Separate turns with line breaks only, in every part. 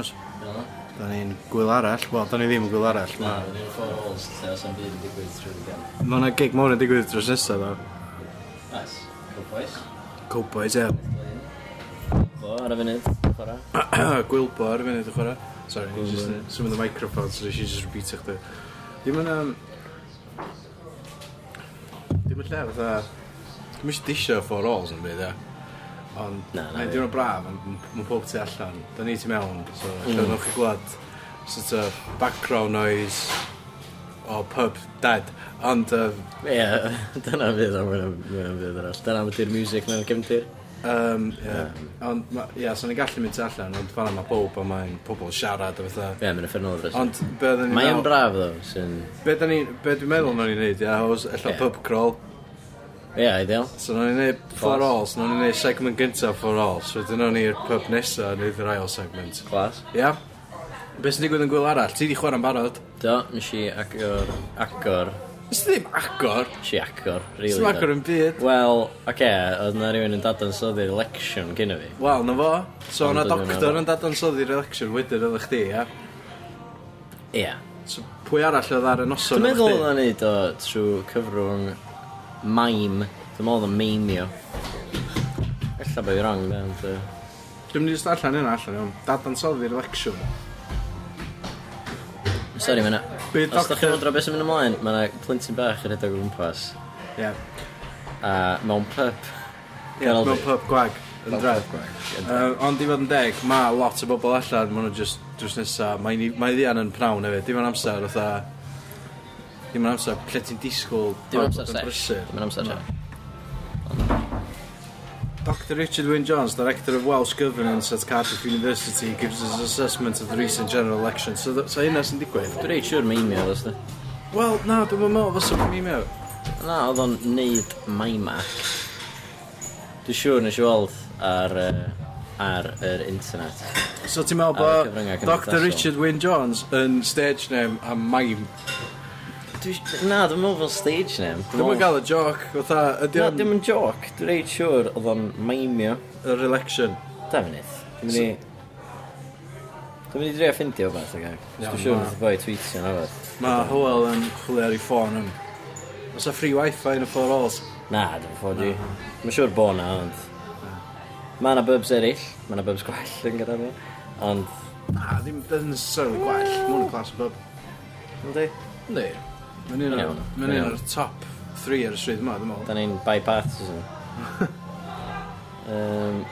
yma.
Da ni'n gwyl arall. Wel, da ni ddim yn gwyl arall.
Na,
Mae
da ni'n four walls, lle os am byd yn digwydd trwy'r gan.
ma yna gig mawr yn digwydd dros nesaf ddo.
Nice. Good boys.
Cowboys, ie.
Bo, ar y funud, chwarae.
Gwilbo ar y funud y chwarae. Sorry, nes i jyst symud y microphone, so nes i just repeat eich di. Dim yn... Um... Dim yn lle, fatha... Dim eisiau disio four alls yn byd, ie. Ond,
Na, na,
mae'n
fi.
diwrnod braf, ond m- mae pob tu allan. Da ni ti mewn, so lle nwch chi glad. Sort of background noise o pub dead. Ond, um,
Ie, dyna fydd am hwnna fydd arall. Dyna fydd i'r music mewn cefndir.
Um, yeah. Ond, ma- ie, yeah, so ni'n gallu mynd tu allan, ond fanna mae pob a mae'n pobl siarad o fatha.
Ie, mae'n effernol dros.
Ond, be oedden ni'n
Mae yn
meddwl-
braf, ddo, sy'n...
Be da ni, be dwi'n meddwl na'n ni'n neud, ia, hos, ella
Ie.
pub crawl.
Ie, ideal.
So na'n ni'n neud for all, so na'n ni'n neud segment gyntaf for all, so dyn nhw'n i'r pub nesaf, neud yr ail segment.
Clas.
Ia? Yeah? Be sy'n digwydd yn gwyl arall? Ti di chwarae'n barod?
Do, nes i agor... Agor.
Nes ti ddim agor?
Nes i agor,
Nes
rili.
ti'n agor yn byd?
Wel, oce, okay, oedd na rhywun yn dadansoddi'r election gyda fi.
Wel, na fo. So
Ond
na
dydyn nhw'n
doctor
meddwl.
yn dadansoddi'r election wedyn oedd chdi, ia?
Ie.
So pwy arall oedd ar y noson
Dwi'n
oedd
meddwl
chdi?
oedd o'n neud o trwy cyfrwng mime. Dwi'n meddwl oedd o'n meimio. Ella bod i wrong, da, ond... yy,
Dwi'n mynd i just allan yna allan iawn. Dadansoddi'r election.
Sori, mae'na...
Bydd
Os da
doctor-
chi'n mwydro beth sy'n mynd ymlaen, mae'na plentyn bach yn rhedeg o gwmpas.
Ie.
A mewn pub.
Ie,
Canol
mewn
Ddu.
pub gwag. Yn
Mewn
dref.
pub gwag, yn
Yy, Ond i fod yn deg, mae lot o bobl allan, maen nhw just drws nesa. Mae ni- mae ddian yn prawn hefyd. Dim yn amser, otha... Dim yn amser, lle ti'n disgwyl...
Dim
pawb
amser
yn
sesh.
brysur.
Dim amser
Na.
sesh.
Dr Richard Wynne Jones, Director of Welsh Governance at Cardiff University, gives us an assessment of the recent general election. So, th- so hynna sy'n digwydd?
Dwi'n reit siwr meimio, dwi'n sti.
Wel, na, dwi'n meddwl, fysa fi'n mi mewn.
Na, oedd o'n neud maimac. Dwi'n siwr nes i weld ar... Uh, ar yr internet.
So ti'n meddwl bod
Ar y cyfryngau
Dr
cymdeithasol.
Richard Wynne Jones yn stage name a mime.
Dwi, na, dwi'n meddwl fel stage name. Dwi'n
Dwi'n
meddwl-
mynd gael y joc, fatha, ydy
Na,
o'n
dim yn joc. Dwi'n reit siwr oedd o'n maimio.
yr election.
Da fynydd. Dwi'n mynd i... Dwi'n mynd i drio ffindio o beth, okay?
Iawn,
Dwi'n siwr
ma-
oedd y boi tweetio'n o beth.
Mae Howell yn chwilio ar ei ffôn yn. Os a free wifi yn y four alls.
Na, dim 4G. Mae'n siŵr bod na, ond... Mae yna bubs eraill, mae yna bubs gwell yn gyda fi. Ond,
Na, ddim ddim necessarily gwell. Mwyn y clas o bob.
ynddi,
Ynddi. Mae'n un o'r
Iawn,
mae'n un
iawn.
o'r top 3 ar y stryd yma, dwi'n meddwl.
da ni'n bipartisan. um,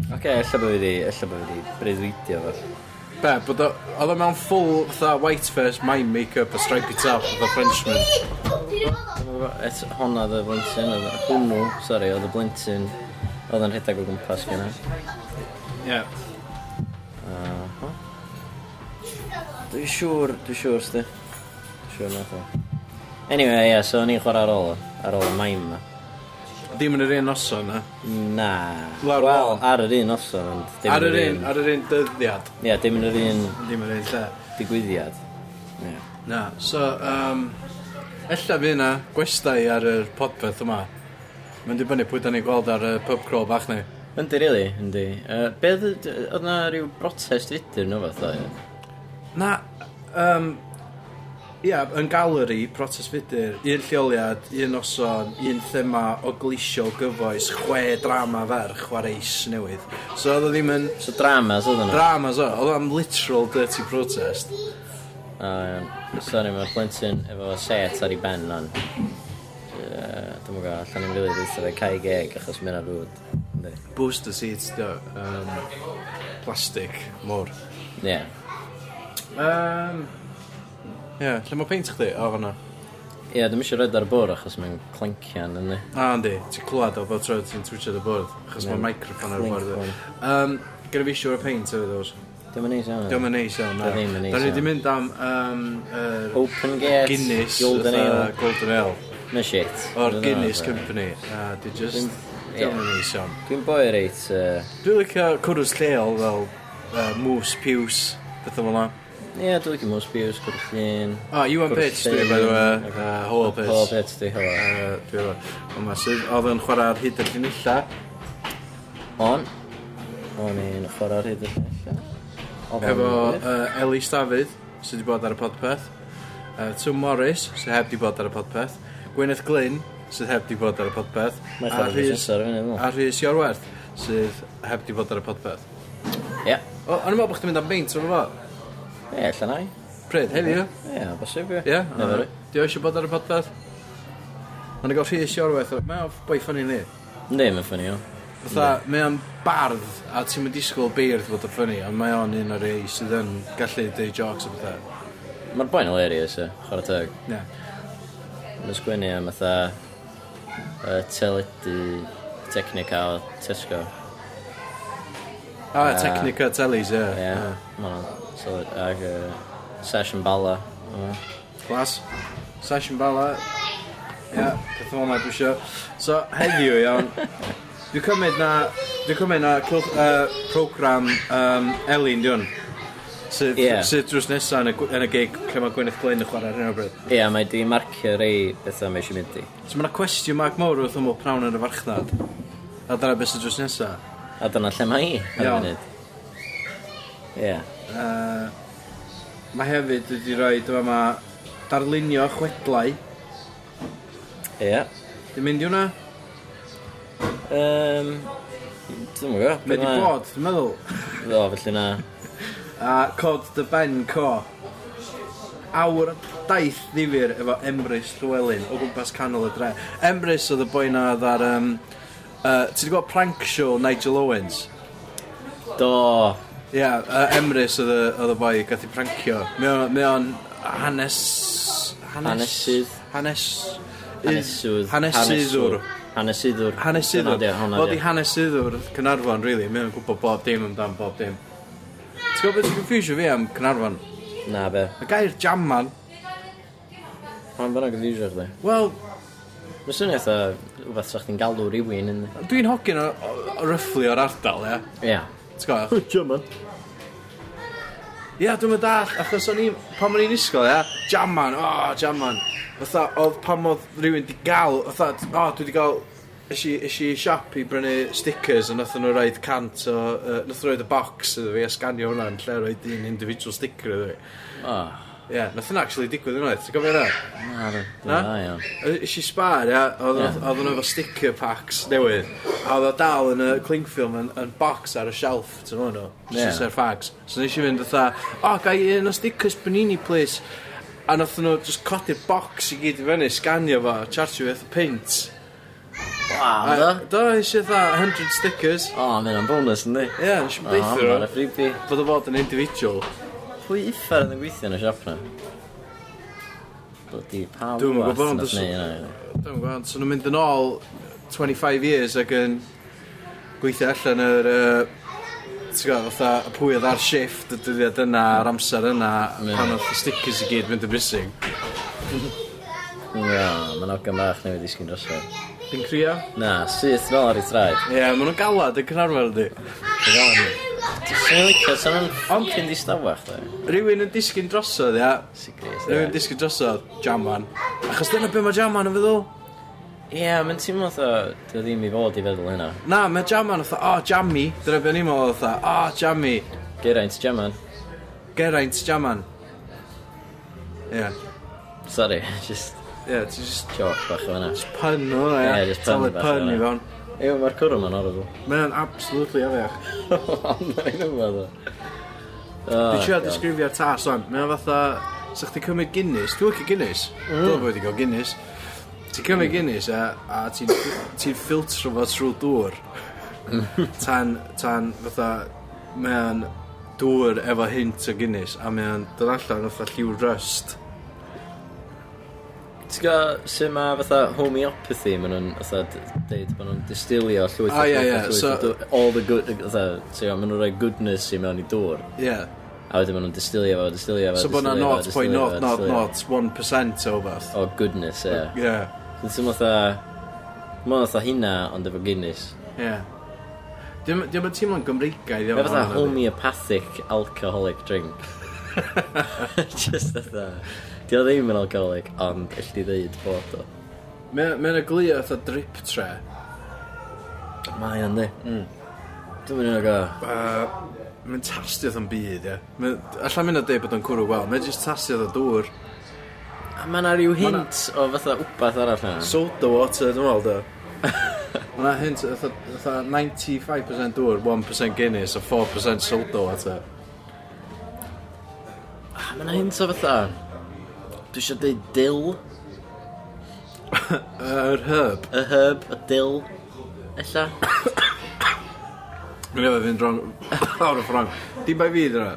Oce, okay, ella bod fi di, ella bod fi di breuddwydio fel.
Be, bod o, oedd o mewn full, fatha, white face, mime make-up, a stripy top, fatha Frenchman.
Et honna oedd y blentyn, oedd y- hwnnw, sori, oedd y blentyn, oedd yn rhedeg o gwmpas gyda.
Ie.
Dwi'n siŵr, dwi'n siŵr, sti. Dwi'n siŵr na thw. Anyway, ie, yeah, so ni'n chwarae ar ôl, o- ar ôl y maim yma.
Dim yn yr un noson, na.
Na.
Lawr
Wel,
wal.
ar yr un noson, ond dim
Ar yr un, ar yr un dyddiad.
Ie, dim yn yr un
Dim yn yr un lle.
digwyddiad. Ie.
Na, so, um, ella fi yna gwestai ar y podpeth yma. Mae'n dibynnu pwy da ni'n gweld ar y pub crawl bach ni.
Yndi, rili, yndi. Uh, be oedd, y- d- oedd na rhyw brotest fydur nhw fath o, ie?
Na, um, ia, yn galeri, protest fudur, un lleoliad, un noson, un thema o gleisio gyfoes, chwe drama ferch, wareis newydd. So oedd o ddim yn
So dramas oedd nhw.
dramas o, oedd o'n literal dirty protest.
Uh, sorry, mae'r plentyn efo set ar ei ben o'n. Uh, Dwi'n gwybod, allan i'n rili dweud fe cae geg achos mae'n rwyd. Yndi.
Booster seats, dio, um, plastic, mor.
Ie.
Um, Ie, yeah, lle mae peint chdi? O, fanna.
Ie, dwi'n eisiau rhaid ar y bwr achos mae'n clancian yndi.
A, Ah, yndi, ti'n clywed o bod tro ti'n twitio dy bwrdd, achos
Ie.
mae'r microphone ar y bwrdd.
Clink
Um, Gyda fi siwr o peint efo ddws.
Dwi'n mynd i siarad.
Diolch yn neis iawn. na.
Dio ddim yn neis
Da ni
iawn.
wedi mynd am um, er
Open Gate,
Guinness,
Golden
fatha
Ale.
Golden Ale,
Mae'n shit.
o'r
Dwi'n
Guinness
meddwl,
Company. A, di just,
Dwi'n-
diolch yn
Ie.
neis iawn.
Dwi'n boi reit... yy,
Dwi'n licio cwrws lleol fel uh, Moose Piws, beth o'n la.
Ie, uh, dwi'n mwyn sbiws, gwrs llun.
O, Iwan Ah,
Cwrws
Pitch, dwi, by the
Llyn.
way, uh, Howell Pitch.
Pob beth dwi'n hwyl.
Yy, dwi efo. Ond ma' sydd- Oedd yn chwarae ar hyd y llinella.
On. On i'n chwarae ar hyd y llell. Oedd o'n
efo
wir.
uh, Eli Stafyd, sydd wedi bod ar y podpeth, uh, Tim Morris, sydd heb wedi bod ar y podpeth, Gwyneth Glyn, sydd heb wedi bod ar y podpeth,
Mae'n ffordd o'r sensor yn fyny,
a Rhys Iorwerth, sydd heb wedi bod ar y podpeth.
dwi'n Ie.
O, o'n i'n meddwl bod chdi'n mynd am beint o'r fo.
Ie, allan ai.
Pryd, heddiw?
Ie, bosib, ie.
Ie?
Never.
Di o eisiau bod ar y podpeth? Mae'n gael Rhys Iorwerth, mae o boi ffynnu ni.
Yndi, mae'n ffynnu, o.
Fytha, mae o'n bardd, a ti'n mynd disgwyl beirdd fod o ffynnu, ond mae o'n un o'r ei sydd yn gallu dweud jokes o bethau.
Mae'r boi'n hilarious, ie. Chwarae teg.
Ie.
Mae'n sgwini am fatha uh, teledu Technica o Tesco.
A uh, Technica Tellies, ie.
Ie, yeah.
Yeah.
mae'n solid. Ac uh, Session Bala.
Ah.
Mm.
Glas. Session Bala. Ie, yeah, peth o'n dwi eisiau. So, heddiw iawn, dwi'n cymryd na, dwi'n cymryd na cylch, uh, program um, Elin, diwn. Sydd
Ie.
yeah. syd drws nesaf yn y, gw- yn y gig lle mae Gwyneth Glyn yn chwarae ar hyn o bryd.
Ie, yeah, mae di marcio rei bethau mae eisiau mynd i.
So mae yna cwestiwn mag mawr wrth ymwyl prawn yn y farchnad. A dyna beth sydd drws nesaf.
A dyna lle mae hi ar y
Iawn.
munud. Ie.
Uh, mae hefyd wedi rhoi dyma ma darlunio chwedlau.
Ie.
Di mynd i hwnna?
Yym... Dwi'n mwyn gwybod.
Mae di bod, dwi'n meddwl.
Do, felly na.
A cod dy ben co. Awr daith ddifur efo Emrys Llywelyn o gwmpas canol y dre. Emrys oedd y boi na oedd ar... Um, uh, ti wedi gweld prank show Nigel Owens?
Do.
Ie, yeah, uh, Emrys oedd y- oedd y boi gath i prancio. Mae o'n- mae o'n hanes... hanes-
Hanesydd.
Hanes...
Hanesydd.
Hanesyddwr.
Hanesyddwr.
Hanesyddwr.
Dyna di, hwnna
Wel,
di.
di hanesyddwr Cynarfon, really. Mae'n gwybod bob dim amdan bob dim. Ti'n gwybod beth sy'n confusio fi am Cynarfon?
Na, be.
Y gair jamman,
Mae'n bynnag yn ddysio chdi.
wel,
Mae swnio eitha rhywbeth sa'ch chi'n galw rhywun yn...
dwi'n hogyn o, o, o ryfflu o'r ardal, ia.
Ie.
Ti'n gwybod?
Hwtio man.
Ia, dwi'n mynd all, achos o'n i, pan o'n i'n isgol, ia, jamman, o, oh, jamman. Fytha, oedd pan oedd rhywun di gael, fytha, o, oh, dwi di gael, Esi, esi i siop i brynu stickers a nath nhw roed cant o... Uh, nath nhw roed y box iddo fi a sganio hwnna yn lle roed un individual sticker iddo fi.
O.
Ie, yeah, nath hynna actually digwydd yn oed, ti'n gofio hynna?
Na, do.
Na?
Na, iawn.
Ys i spar, ia, oedd
Ie.
yeah. nhw efo sticker packs newydd, a oedd o dal yn y cling film yn, yn box ar y shelf, ti'n mwyn nhw,
Ie.
just yeah. fags. So nes i fynd fatha, o, oh, gai un o stickers Panini, please. A nath nhw just codi'r box i gyd i fyny, scanio fo, charge beth o pint.
Wa, do.
A- Do, nes i fatha 100 stickers.
O, mae hwnna'n bonus, yndi?
Ie, yeah, nes i
O,
beithio
mae'n
nhw.
y freebie.
Fod o fod yn individual.
Pwy uffar yn gweithio yn y siop na? Bloody pawb.
Dwi'm yn gwbod, ond os-
Dwi'n gwybod.
Dwi'n gwybod, so nhw'n mynd yn ôl 25 years ac yn gweithio allan yr... Uh, Ti'n gwybod, fatha, y pwy oedd ar shift y dyddiad yna, a'r amser yna,
Ie.
pan oedd y stickers i gyd mynd yn missing.
Ie, mae'n ogan bach newid i sgyn drosodd.
Dwi'n crio?
Na, syth nôl ar ei traed.
Ie, yeah, maen nhw'n galad yn cynarfer ydy.
Dwi'n gael hynny. Dwi'n licio, sa'n nhw'n
Ond-
ffocin di stafell, dwi.
Rhywun yn disgyn drosodd, ia.
Sigris,
Rhywun yn
dwi.
disgyn drosodd, Jamman. Achos dyna be mae Jamman yn feddwl.
Ie, mae'n teimlo tho, dwi ddim i fod i feddwl hynna.
Na, mae Jamman oedd, o, Jammy. Dyna be ni'n meddwl oedd, o, Jammy.
Geraint Geman.
Geraint Jamman. Ie, yeah.
Sorry, just
ie, yeah, ti'n just
joke bach o hynna.
pun o, ie.
Ie, jyst pun
Solid
bach
pun
yna.
i fewn.
Ew, mae'r cwrw ma'n horrible.
Mae o'n absolutely afiach.
Ond mae'n gwybod o.
Dwi'n siarad disgrifio'r tas o'n. Mae o'n fatha... Sa chdi cymryd Guinness? Dwi'n licio Guinness. Dwi'n bod i gael Guinness. Ti'n cymryd Guinness a, a ti'n ti ffiltro fo trwy dŵr. tan, tan fatha... Mae o'n dŵr efo hint o Guinness a mae o'n dod allan fatha lliw rust.
Ti'n gwybod sut mae fatha homeopathy maen nhw'n fatha d- deud maen nhw'n distilio llwyth o
Ah, ie,
llwyth
ie,
o llwyth
so-
o dŵr- all the good fatha ti'n gwbod maen nhw'n rhoi goodness i mewn i dŵr
Ie. Yeah.
a wedyn maen nhw'n distilio fo distilio fo
So bod na
distilio fo, distilio fo, distilio fo.
0.001% o fath.
o goodness ie
Ie. Yeah.
Dwi'n teimlo fatha maen fatha hynna ond efo Guinness
Ie. Yeah. Dwi'n dwi'n teimlo'n Gymreigaidd iawn.
Mae fatha
hwnna, ydi?
homeopathic alcoholic drink just fatha Dio ddim yn alcoholic ond gallu ddeud bod o
Mae mae'n eglio fatha drip tre. Mm.
Mae o'n di Dwi'n mynd i'n go
Uh, mae'n tastio o'n byd, ie. Mae- Alla mynd o dweud bod o'n cwrw wel, mae'n just tastio o'n dŵr.
A mae yna rhyw hint o fatha wbath arall yna.
Soda water, dwi'n meddwl, da. Mae'na hint, fatha fatha 95% dŵr, 1% Guinness a 4% soda water.
Mae yna hint o fatha... Dwi eisiau dweud dill,
Yr herb.
y herb, y dill, ella.
Mae'n efo fynd wrong, awr o ffrong. Dim bai fi, dyna.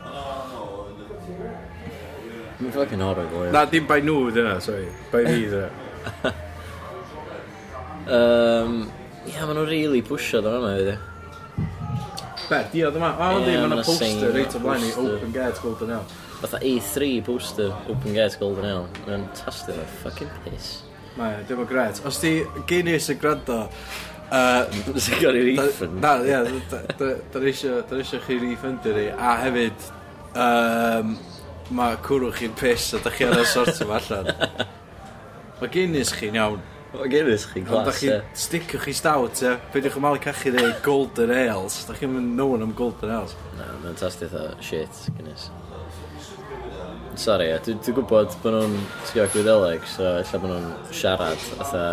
Mae'n fucking horrible, ie.
Na, dim bai nhw, dyna, sorry. Bai fi, dyna.
Um, Ia, maen nhw'n really pwysio dod yma, fyddi.
Be, diod yma. O,
Ie,
yndi,
ma' 'na
mae'n
sign,
poster reit o blaen i
poster.
Open Gate Golden Hill.
Fatha A3 poster, open gate, golden ale. Mae'n tastio fe, fucking piss.
Mae, dim o gret. Os di Guinness yn gwrando, uh,
Sy'n gael i'r
Na, ie, da- da- da ni isio da ni isio chi refundio ni, a hefyd, um, mae cwrw chi'n piss a da chi ar y sort yma allan. Mae Guinness chi'n iawn,
Mae'n gynnwys chi'n
ond da
glas,
chi
ie.
sticio chi stout, ie. Peidiwch yn malu cachu neu Golden Ales, da chi'n mynd known am Golden Ales.
Na, mae'n tastio fe, shit, gynnwys. Sorry, ie, dwi- dwi'n gwybod bod nhw'n sgio gwyddeleg, so ella bod nhw'n siarad, fatha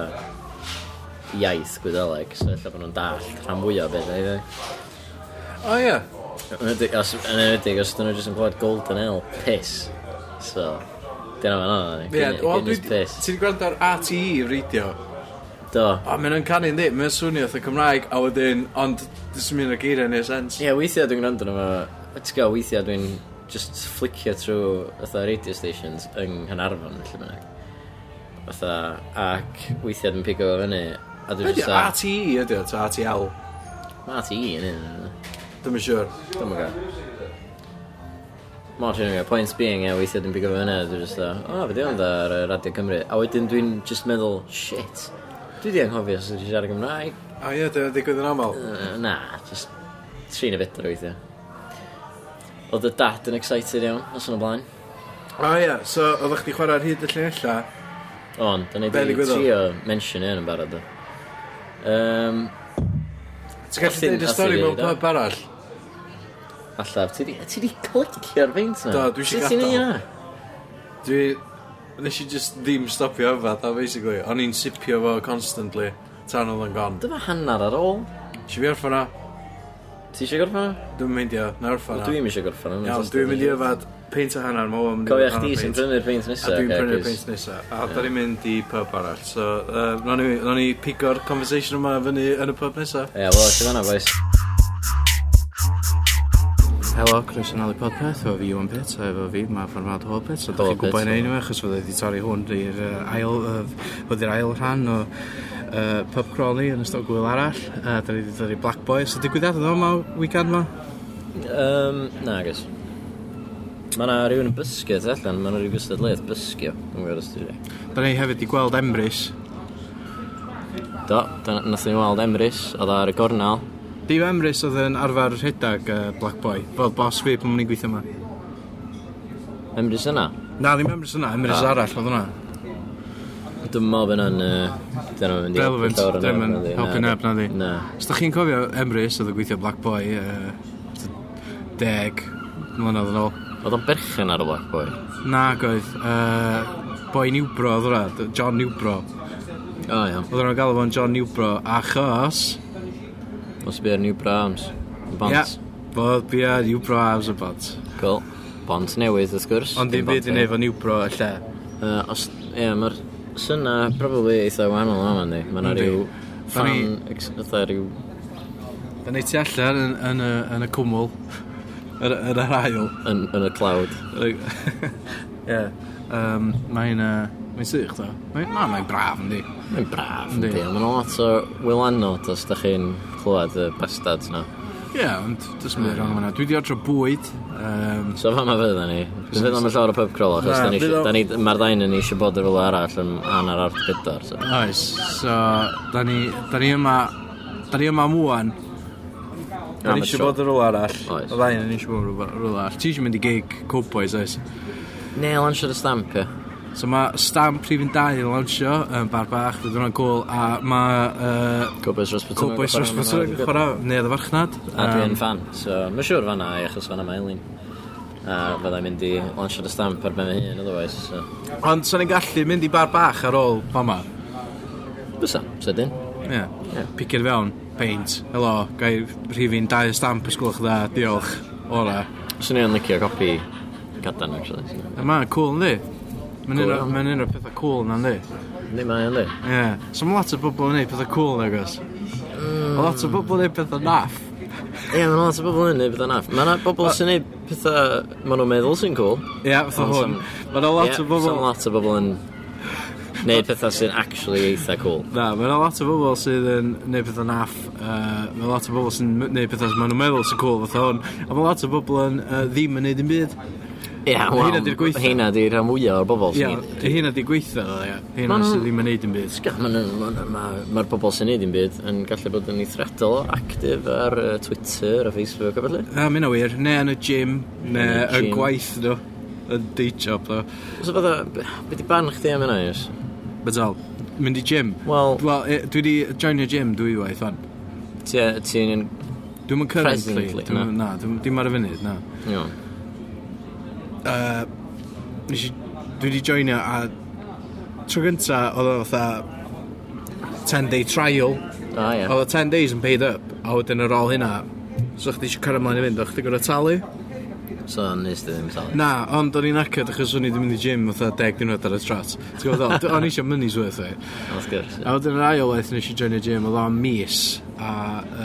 iaith gwyddeleg, so ella bod nhw'n dallt rhan fwyaf o beth, ei
O ie,
Yn enwedig- os- Yn enwedig, os dyn nhw jyst yn clywed golden ale, piss. So, dyna fe'n anna,
ie, wel, dwi-
gynnwys
ti
piss.
wedi gwrando ar RTE radio,
Do.
a mae'n yn canu yndi, mae'n swnio fatha Cymraeg, a wedyn, ond, dwi'n mynd o geiriau neu sens.
Ie, yeah, weithiau dwi'n gwrando yma, ti'n gael weithiau dwi'n just flicio trwy fatha radio stations yng Nghanarfon, felly mynd. Fatha, ac weithiau dwi'n pigo fo fyny, a dwi'n
Be' 'di
just a...
RTE E ydi o, ta RTL?
Ma ti i yn un,
Dwi'n mynd siwr.
dwi'n mynd gael. Mor ti'n gael, points being, ie, weithiau dwi'n pigo fo fyny, a dwi'n just a, o, fe diw'n da ar yy, Radio Cymru. A wedyn dwi'n just meddwl, shit, dwi di anghofio os dwi'n siarad Gymraeg.
O ie, dyna digwydd yn aml.
Yy, Na, just trin y fedr weithiau. Oedd y dad yn excited iawn, os yn y blaen.
O ie, so oeddech chdi chwarae ar hyd y llinella
Ond, dyna
Be'
ni wedi
ddigwyddodd?
trio mention hyn yn barod. Um,
Ti'n gallu
Alli-
dweud y
alli
stori
ddeud
mewn
o.
pub arall?
allaf, ti di, ti di clicio'r feint yna?
Do, dwi isio
Sut ti'n
gadael.
neud hynna?
Dwi... Nes i just ddim stopio yma, da basically O'n i'n sipio fo constantly Tan oedd yn gon
Dyma hanner ar ôl.
Si fi orffan o?
Ti eisiau gorffan?
Dwi'n mynd i o, na orffan o
Dwi'n eisiau gorffan. ma'n
Iawn,
just-
dwi'n mynd i yfad peint a hanner Mae o'n mynd i
Cofia
yfad
chdi
hanner
sy'n
peint.
prynu'r feint nesaf.
A dwi'n prynu'r peint nesa A da ni'n mynd i pub arall So, uh, nawn ni- nawn ni pigo'r conversation yma fyny yn y pub nesa
Ie, wel, ti'n fanna, boys.
Helo, Chris yn Ali Podpeth, efo fi Iwan Pitt, a efo fi, mae Farmad Hobbit, so
Helo,
dach chi'n
Pitt.
gwybod neud yma, achos fydde wedi torri hwn i'r uh, ail, uh, fod i'r ail rhan o uh, pub crawley yn ystod gwyl arall, a da ni wedi torri Black Boy, so digwyddiad yno yma, weekend yma?
Um, na, gys. Mae yna rhywun yn bysgu tu allan, mae yna rhyw gystadleuaeth bysgu. Dwi'n gwybod os dwi.
Da ni hefyd wedi gweld Emrys,
Do, dyna- nath ni'n weld Emrys, oedd ar y gornal.
Dim Emrys oedd yn arfer rhedag uh, Black Boy, fel bos fi pan mwyn i gweithio yma.
Emrys yna?
Na, ddim Emrys yna, Emrys
Ah.
arall oedd hwnna.
Dwi'n meddwl bod yna'n... yy, Dyna mynd i...
Relevant,
fawr yn
dim yn
helpu
helpu
na,
neb, na di.
Na.
Os da chi'n cofio Emrys oedd yn gweithio Black Boy, uh, deg mlynedd yn ôl.
Oedd o'n berchen ar y Black Boy.
Nag oedd uh, boi Newbro oedd hwnna, John Newbro.
O, iawn.
Oedd hwnna'n galw fo'n John Newbro achos...
Must be our new Brahms. Bont.
Bod bia Newbro abs y bont.
Cool. Bont newydd, wrth gwrs.
Ond dim byd i neud
newydd.
fo Newbro y lle.
Os... Ie, mae'r... Syna, probably eitha wahanol yma, ynddi. Mae yna
Yndi.
rhyw...
Da
Fan...
ni-
ex- Eitha rhyw...
Da ni ti allan yn, yn, y, yn y cwmwl. Yn, y- yn yr ail.
Yn, yn y cloud.
Ie. yeah. um, mae'n... Uh, mae'n sych, da. Mae'n ma, mae braf, yndi.
Mae'n braf,
Yndi.
ynddi. Mae'n lot o wylanod os da chi'n clywed y bastards na.
Ie, yeah, ond dys mynd rhan yna. Dwi di ordro bwyd. Um,
So fa ma fydda ni? Dwi'n fydd am y llawer o pub crawl achos
Na,
da ni
fydd
isio-
o-
da ni... Mae'r ddain yn eisiau bod yr rwle arall yn hanner ar bydar. So.
Oes, so, da ni, da ni yma, da ni yma am ŵan. Da
Am
ni
y
eisiau
tro.
bod yn rhywle arall.
Oes.
O ddain, da ni eisiau bod yn rhywle arall. Ti eisiau mynd i gig Cowboys, oes?
Neu lansio dy stamp, ie.
So mae Stam Prif yn 2 yn lawnsio yn bar bach, fydd hwnna'n cool, a mae uh,
Cowboys Rasputin.
Cowboys Rasputin yn chwarae, neu oedd y farchnad.
A dwi'n
Yym,
fan, so mae'n siŵr fanna, ai, achos fanna mae Eileen. A fyddai'n mynd i launch ar y stamp ar ben fy hun, otherwise, so...
Ond sa'n ni'n gallu mynd i bar bach ar ôl fama.
Bysa, sydyn.
Ie. Yeah. Picio'r fewn, paint, helo, gai rhifin dau stamp ysgolch dda, diolch, ora.
Swn i'n licio copi gadan, actually. so.
A mae'n cool, ynddi? Mae'n
Cool,
un o-
iawn.
mae'n un o'r pethau cool na, ynddi?
Ni mae, ynddi?
Ie. Yeah. So mae lot o bobl yn gwneud pethau cool, nagos? Mm. Lot o bobl yn gwneud pethau naff.
Ie, mae'n lot o bobl yn neud bethau naff. Mae'n bobl sy'n neud pethau maen nhw'n meddwl sy'n cool.
Ie, yeah, fatha
Ond
hwn.
some-
Mae 'na lot
Ie,
o
so'n
bobl...
lot o bobl yn neud pethau sy'n actually eitha cool.
Na, mae yna lot o bobl sydd yn gwneud pethau naff uh, Mae lot o bobl sy'n m- gwneud pethau maen nhw'n meddwl sy'n cool fatha hwn A mae lot o bobl yn uh, ddim yn gwneud yn byd
Ie, wel,
Heina 'di'r gweitha.
heina di'r rhan fwyaf o'r bobl
Ia,
sy'n neud.
hynna di gweithio ddo, ia Hynna
Ma' nhw-
sydd ddim yn gwneud yn byd
Mae'r ma, nhw'n- ma, ma pobl sy'n neud i'n byd yn gallu bod yn eithriadol o actif ar uh, Twitter a Facebook a felly.
Na, mae yna wir, neu yn y gym, neu
Yn y
yn
gym.
gwaith nhw Yn day job ddo
So fydda, be- be di ban chdi am yna, Iws?
Bydal, mynd i gym
Wel,
Wel, e, dwi di joinio gym dwy waith fan
ti- ti'n...
Dwi'n mynd currently
Presently,
dwi'm- Na, dwi'm- dim ar y funud, na
Iawn.
uh, nes i, dwi wedi joinio a tro gynta oedd o fatha 10 day trial
A, ie.
oedd o 10 days yn paid up a wedyn ar ôl hynna so chdi eisiau cyrra mlaen i fynd o chdi gorau talu
So, nes di ddim talu.
na ond o'n i'n acad achos o'n i wedi mynd i gym fatha 10 diwrnod ar y trat Ti'n gwbod be dwi'n feddwl? o'n i eisiau money's worth e
Wrth gwrs. ie.
a wedyn yr ail waith nes i joinio gym oedd o'n mis a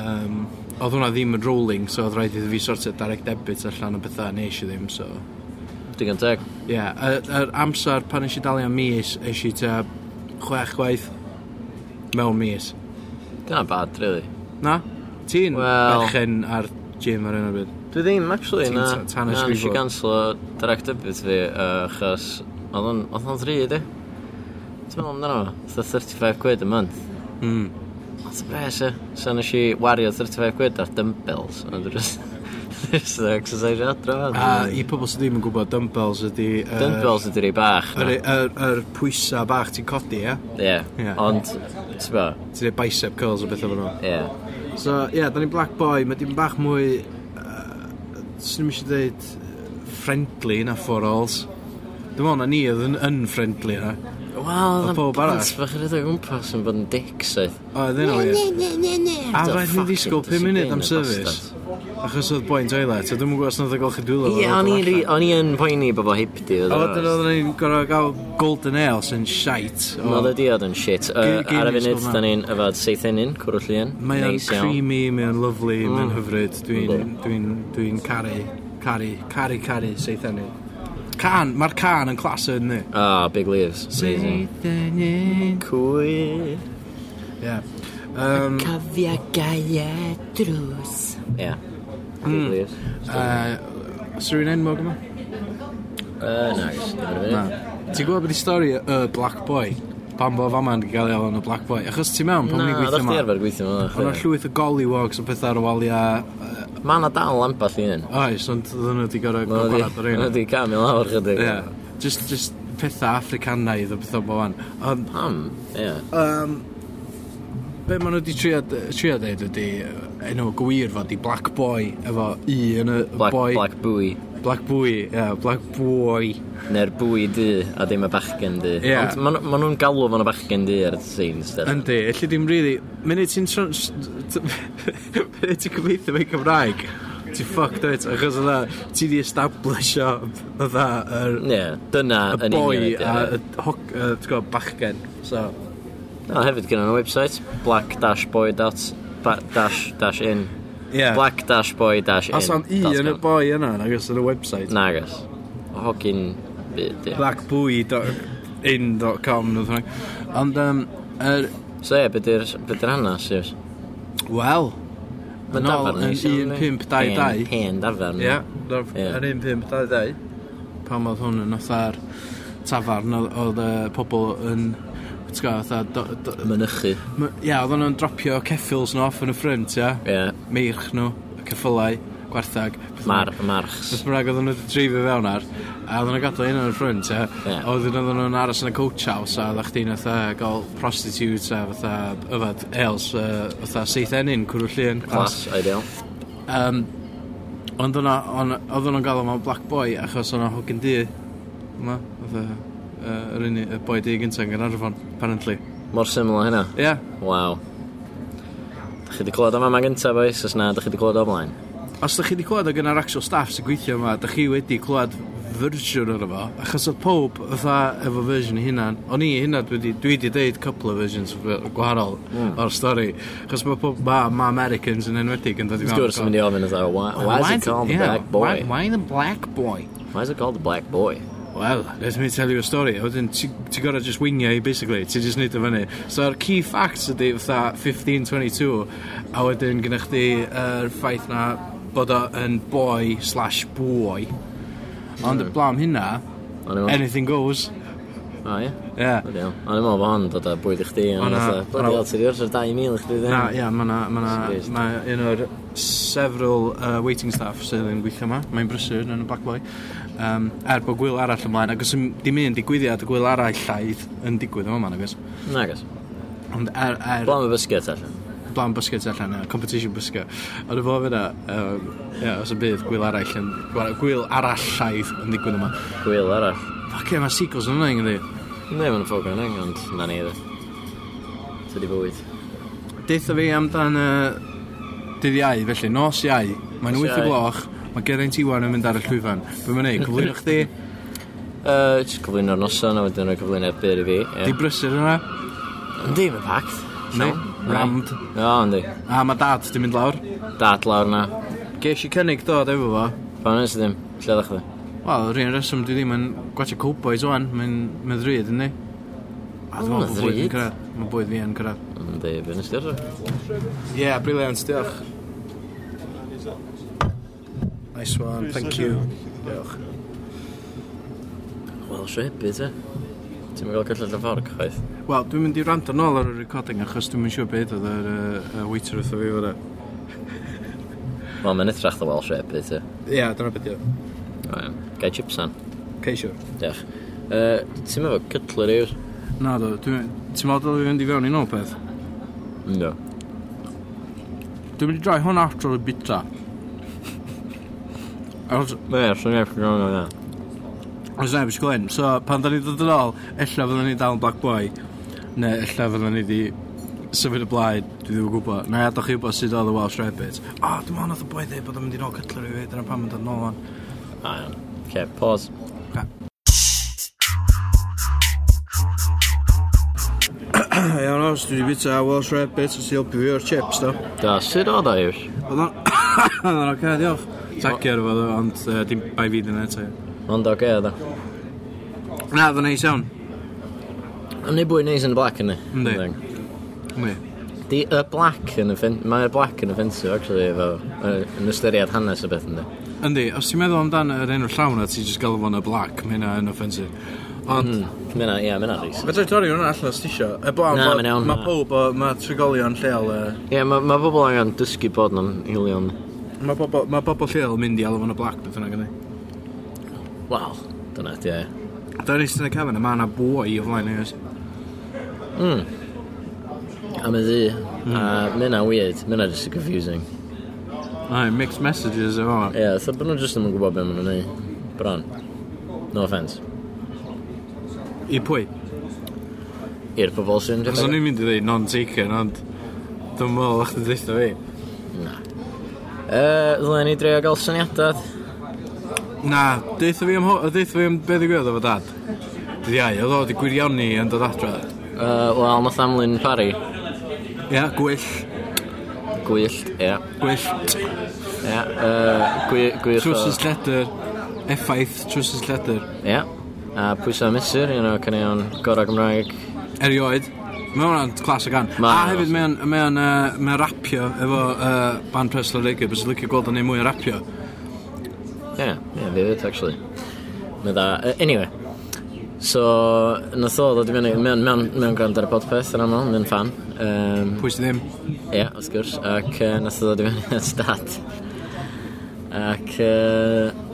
um, oedd hwnna ddim yn rolling so oedd rhaid iddo fi sortio direct debit allan o bethau nes i ddim so
Digon teg.
Ie, yeah, yr amser pan eisiau dalu am mis, eisiau ta chwech gwaith mewn mis.
Dyna bad, really.
Na? Ti'n
Wel-
berchen ar gym ar hyn o bryd?
Dwi ddim, actually,
Ti'n
na.
ta- tan
Na, nes i
ysgrifo.
ganslo direct debit fi, uh, achos oedd o'n oedd o'n ddryd, e? Ti'n meddwl amdano fo? Oedd 35 quid y month.
Mm.
Lot o bres, e. So nes i wario 35 quid ar dumbbells. Ond just... Just the exercise adro.
A
fan.
i pobl sydd ddim yn gwybod, dumbbells ydy... yy,
Dumbbells ydy'r ei bach.
Yr
na.
yr- yr pwysa bach ti'n codi, ie? Ie.
Ie. Ond, ti'n bo,
Ti'n ei bicep curls o beth efo nhw.
ie.
So, ie, yeah, da ni'n black boy, mae dim bach mwy... Uh, Swn i'n eisiau dweud friendly na for alls. Dwi'n meddwl na ni oedd yn unfriendly na.
Wel,
Oedd
oedd
pawb arall?
plant bach yn rhedeg o gwmpas yn bod yn dicks oedd.
Oedd hynna wir. A
Do,
rhaid ni
fuck
ddisgwyl 5
it, does he
munud
gain
am
y
service Achos oedd boi'n toilet A dwi'm yn gwybod os nad oedd golchi dwylo
Ie, o'n i'n ri- o'n i yn poeni bobl hipdi oedd
A
o,
wedyn
oes.
oedd ni'n gorau gael golden ale sy'n shite o-
Wel, ydi oedd yn shit. Yy,
Gain- gain
Ar y
ddisgwyl
funud,
na.
da ni'n yfad seithenyn, cwrw llun.
Mae o'n
Neis iawn.
creamy, mae o'n lovely, mae o'n
Mm.
hyfryd Dwi'n dwi'n dwi'n caru, caru, caru, caru seithenu Can, mae'r can yn clas yn ni
Ah, big leaves. Amazing.
Seithenu
Cwy.
Ie Um,
Cofio gaia drws. Ie.
Hmm.
Big leaves.
uh, Sir rhywun enwog yma?
Yy, nagos. dim ar y funud.
Ti'n gwybod beth i stori y Black Boy? Pan bo fama yn gael ei alw yn y Black Boy. Achos ti'n mewn, pan
Na,
ni'n gweithio
ddech
yma.
chi arfer gweithio yma.
Ond o'n
chwaith.
llwyth o gollywogs o pethau ar y waliau.
Ma' na dal amball i un.
Oes, ond oedden nhw wedi gorau
Ma' nhw 'di-
gwahanol ar
ma' nhw
un.
wedi cam i lawr chydig.
Ie. Just, just pethau Africanaidd o pethau bo fan. Ond,
Pam, ie.
um, be maen nhw wedi trio trio dweud ydi yy, enw gwir fod i Black Boy efo i yn y
Black,
boy.
black bwy.
Black Boy, ie, Black Boy.
Neu'r bwy du, a ddim y bachgen du.
Ie.
Ond ma' nhw- ma' nhw'n galw fo'n y bachgen du ar y scenes. de.
Yndi, lle dim really... Munud ti'n trans... t- Munud ti'n cyfeithio mewn Cymraeg, ti'n fucked out, achos oedd ti di establish o, oedd yr
Ie, dyna
y
yn
boi
union
a
ydi,
y hoc, y, ti'n gwybod, bachgen. So,
ie. O, hefyd gyda nhw website, black-boy-in.
ie.
Black-boy-in.
Os am i yn y boi yna, agos yn y website.
Nagos. Hogyn byd, ie.
Blackbwy.in.com, nid hwnnw. Ond, um, er,
So ie, be di'r hanes, Siws?
wel,
Mae'n
Yn ôl
dafarn neis
yn
iawn,
un
yndi?
pump dau
Pen-
dau.
Pen dafarn.
ie,
Ie.
yr un pimp, dau ddau. Pan oedd hwn yn otha'r tafarn, oedd- oedd y pobl yn, ti'n gwybod, fatha... do- do-
Mynychu.
Ma- Ie, yeah, oedden nhw'n dropio ceffils nhw off yn y ffrynt, ia.
Ie.
Meirch nhw, y ceffylau. gwarthag. beth
Mar, marchs.
Beth bynnag oedden nhw wedi dreifio fewn ar, a oedden nhw'n gadael un yn y ffrwnt, e.
Ie.
A Oedden oedden nhw'n aros yn y coach house, a oedden chdi'n fatha gael prostitutes a fatha yfad ales, yy, fatha seith enyn, cwrw llun.
Class, ideal.
Um, ond yna, on- oedden nhw'n gael o mewn Black Boy, achos o'n hogyn di, yma, fatha, yy, yr unig, y boi di gyntaf yn Gaernarfon, apparently.
Mor syml o hynna.
Ie, yeah.
Waw. Dach chi wedi clywed am yma gyntaf, boys, os na, dach chi wedi clywed o blaen.
Os ydych chi wedi clywed o gynnar actual staff sy'n gweithio yma, ydych chi wedi clywed fersiwn o'r efo, achos oedd pob fatha efo fersiwn ei hunan, o'n i hunan wedi, dwi wedi deud couple of versions f- gwahanol
Hmm.
mm. o'r stori, achos mae pob, ma, ma Americans yn enwedig yn dod i
Wrth
mewn.
gwrs, yn mynd i ofyn oedd, why, why is it called the
yeah,
black boy?
Why, why the black boy?
Why is it called the black boy?
Well, let me tell you a story. Wedyn, ti- ti gorau just wingio hi, basically. Ti just neud o fyny. So'r key facts ydy fatha 1522, a wedyn gyda chdi yr ffaith na bod o yn boy slash boi. Ond y blam hynna,
O'n i'n meddwl,
anything goes.
o ie?
Yeah.
Bloody hell. O'n i'n meddwl bod hon dod o bwyd i chdi,
O,
ond
na.
oedd, bloody hell, ti'n gwrs o'r 2,000 i chdi ddim.
Na, ia, mae na, ma na,
Jesus Christ.
ma un o'r several uh, waiting staff sydd yn gweithio yma. Mae'n brysur yn y Black Boy. Um, er bod gwyl arall ymlaen, ac os dim un digwyddiad, y gwyl arall llaidd yn digwydd yma, mae'n agos.
Na, gos.
Ond er, er,
Blam y biscuit allan.
blaen bysgets allan, uh, competition bysgau. Ond efo fyna, um, yeah, os y bydd gwyl arall yn, gwyl arall llaeth yn digwydd yma.
Gwyl arall.
Fuck yeah, mae sequels yn hynny ynghydi.
Ne, mae'n ffog yn eng, ond na ni ydw. Ty di bywyd.
Deitha fi amdan uh, dydd iau, felly, nos iau, mae'n
Nos
8
Iau.
o gloch, mae Geraint Iwan yn mynd ar y llwyfan. Be mae'n ei, cyflwyno chdi,
Uh, jyst cyflwyno'r noson, a wedyn o'r cyflwyno'r byr i fi. ie.
di brysur yna,
Yndi, mae'n packed.
neu,
Iawn.
rammed,
O, yndi.
a mae dad di mynd lawr.
Dad lawr na.
Gesh i cynnig dod efo fo,
Pan ys ddim, lle ddech chi?
Wel, yr un reswm dwi ddim yn gwachio Cowboys o'n, mae'n meddryd, ynddi? A dwi'n
O,
meddwl bod bwyd
Madrid.
yn cyrraedd. Mae bwyd fi yn cyrraedd.
Yndi, fe nes diwrso.
Ie, yeah, briliant, diolch. Nice one, thank you. Diolch.
Wel, srebu, te. Ti'n mynd gael cyllell y ffordd, chwaith.
Wel, dwi'n mynd i rand yn ôl ar y recording achos dwi'n mynd siŵr beth oedd yr uh, waiter wrtho fi fod e.
Wel, mae'n edrach dda wel srebu, te.
Ie, yeah, dyna beth yw.
Rhaen. Gai chips an.
Ceisio.
Diolch. Uh, ti'n meddwl cytler i'r?
Na do, dwi'n... Ti'n meddwl dylai fi fynd i fewn i nôl peth?
No.
Dwi'n mynd i droi hwn after y bita. Os,
Be, e, swn i'n eithaf gwrdd o'n
Oes neb eisiau gwlen. So, pan da ni ddod yn ôl, ella fydden ni dal yn Black Boy. Neu ella fydden ni di symud y blaen, dwi ddim yn gwybod. Na i adal chi wybod sydd oedd y Welsh Rabbit. O, oh, dim ond oedd y boi dweud bod o'n mynd i nôl cytler i fi, dyna pan mae'n dod yn ôl o'n.
Rhaen. Ce, pause.
Iawn os, dwi wedi bita Welsh Rabbit, os i helpu fi o'r chips, do.
Da, sut o da i'r?
Oedd o'n... Oedd o'n oce, diolch. Tacio ar fod, ond yy, dim bai fi dyn eto.
Ond o ge, da.
Na, oedd o'n neis iawn.
Ond ni bwy neis yn y black yn ni.
Yndi. Mi.
Di y black yn offensive. Mae'r black yn offensive, actually, efo. yy, Yn ystyried hanes y beth ynddi.
Yndi, os ti'n meddwl amdan yr enw llawn a ti'n just galw fo'n y black, mae hynna yn offensive. Ond,
Mae'na, ie, mae'na rhys.
Mhm. Fedra i dorri hwnna allan os ti isio. Y bo,
Na,
bo-
mae'n iawn.
Mae pob o, mae trigolion lleol, yy,
Ie, mae ma bobl angen dysgu bod nhw'n hilion.
mae bobl ma bobo lleol yn mynd i alw yn y black beth yna gynnu.
Wel, dyna e. di, ie.
Da ni sy'n y cefn, mae yna boi o flaen i
Am y ddi. A mae'na weird. Mae'na just yn confusing.
Ai, mixed messages efo yma.
Ie, yeah, bod nhw jyst ddim yn gwybod beth maen nhw'n ei. Bron. No offence.
I pwy?
I'r pobol sy'n...
Os o'n i'n mynd i ddweud non-taken, ond dwi'n meddwl o'ch ti'n dweud fi.
Yy, ddylen ni drio gael syniadau.
Na, deitha fi am, ho- deitha fi am beth i gwybod efo dad. Dydd iau, oedd o wedi gwirioni yn dod adra.
Uh, Wel, nath amlyn pari.
Ia, gwyll,
Gwyllt, ie.
gwyll,
Ie, yy, gwych o...
trwsus lledr, effaith trwsus lledr.
Ie. A pwysa mesur, un o cynnion gorau Gymraeg.
erioed. Mae hwnna'n clas o gan.
Ma-
a hefyd mae o'n mae o'n, uh, mae o'n rapio efo uh, band Presley Lake, bys licio gweld o'n ei mwy o rapio.
Ie, ie, fi fydd, actually. Mae dda. Yy, Anyway. So, nath o ddod i fyny, mewn, mewn, mewn gwrand ar y podpeth yn aml, mewn fan. Um,
Pwy sydd ddim?
Ie, wrth gwrs, ac uh, nath o ddod i fyny at dad. Ac uh,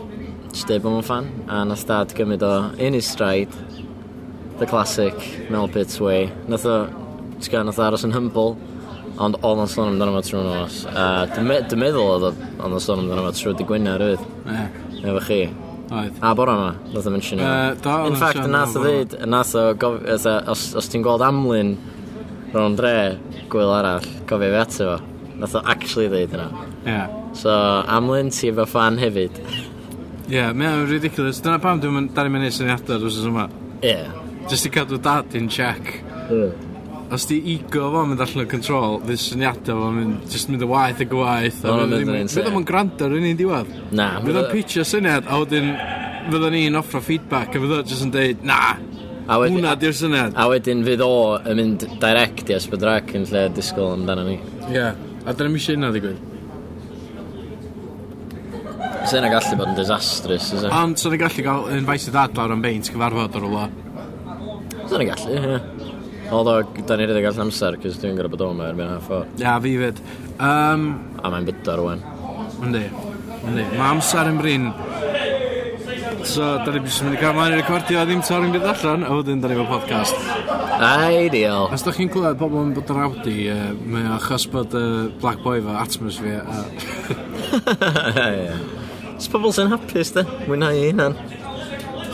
Just dweud bod ma'n fan A nath dad gymryd o In his stride The classic Mel Pitts way Nath o Sgan nath o aros yn humble Ond oedd o'n sôn amdano fo trwy'n nos A dy me- dy meddwl oedd o- oedd o'n sôn amdano fo trwy dy gwyna rydd
Ie,
Efo chi
Oedd.
A bora yma Nath o mention o
Yy, do, oedd
In
o'n
fact,
sôn
yn nath o
amdano
ddweud Yn nath o gof- fatha, Os, os ti'n gweld amlyn Ro'n dre Gwyl arall Cofio fi ato fo Nath o actually ddweud yna
Ie.
So, amlyn ti efo fan hefyd
Ie, mae'n ridiculous. Dyna pam dwi'n mynd- dal i'n mynd i syniadau drws yma.
Ie
Just i cadw dad in check.
yeah.
Os di ego fo'n mynd allan o control, fydd syniadau fo'n mynd, just mynd y waith y gwaith.
Ma'
a
hwnna'n
fydd
mynd yn
ddim-
insane.
Fydd o'n gwrando ar un i'n diwedd.
Na,
Fydd o'n
fydd o-
pitio syniad, a wedyn fydd o'n i'n offro feedback, a fydd o'n just yn deud, na,
A wedyn-
hwnna di'r syniad.
A wedyn fydd o yn mynd direct i Esbydrac yn lle disgwyl amdano ni.
Ie, a dyna mi sy'n yna ddigwydd.
Sa'n yna gallu bod yn disastrous, ys e?
Ond sy'n gallu gael invite i dad lawr am beint cyfarfod ar ola.
Sa'n yna gallu, ie. Although, da ni rydw i gallu amser, cys dwi'n gorau bod o'n mynd erbyn half o.
Ia, fi fyd. Um,
A mae'n bydor o'n.
Yndi, yndi. Mae amser yn brin. So, da ni bys yn mynd i cael mlaen i recordio a ddim torri'n byd allan, a wedyn da ni fel podcast.
Ideal.
Os da chi'n clywed pobl yn bod yn awdi, uh, mae achos bod uh, Black Boy fo atmosphere. A...
Ie. Ys pobl sy'n hapus, da? Mwynhau eu hunan.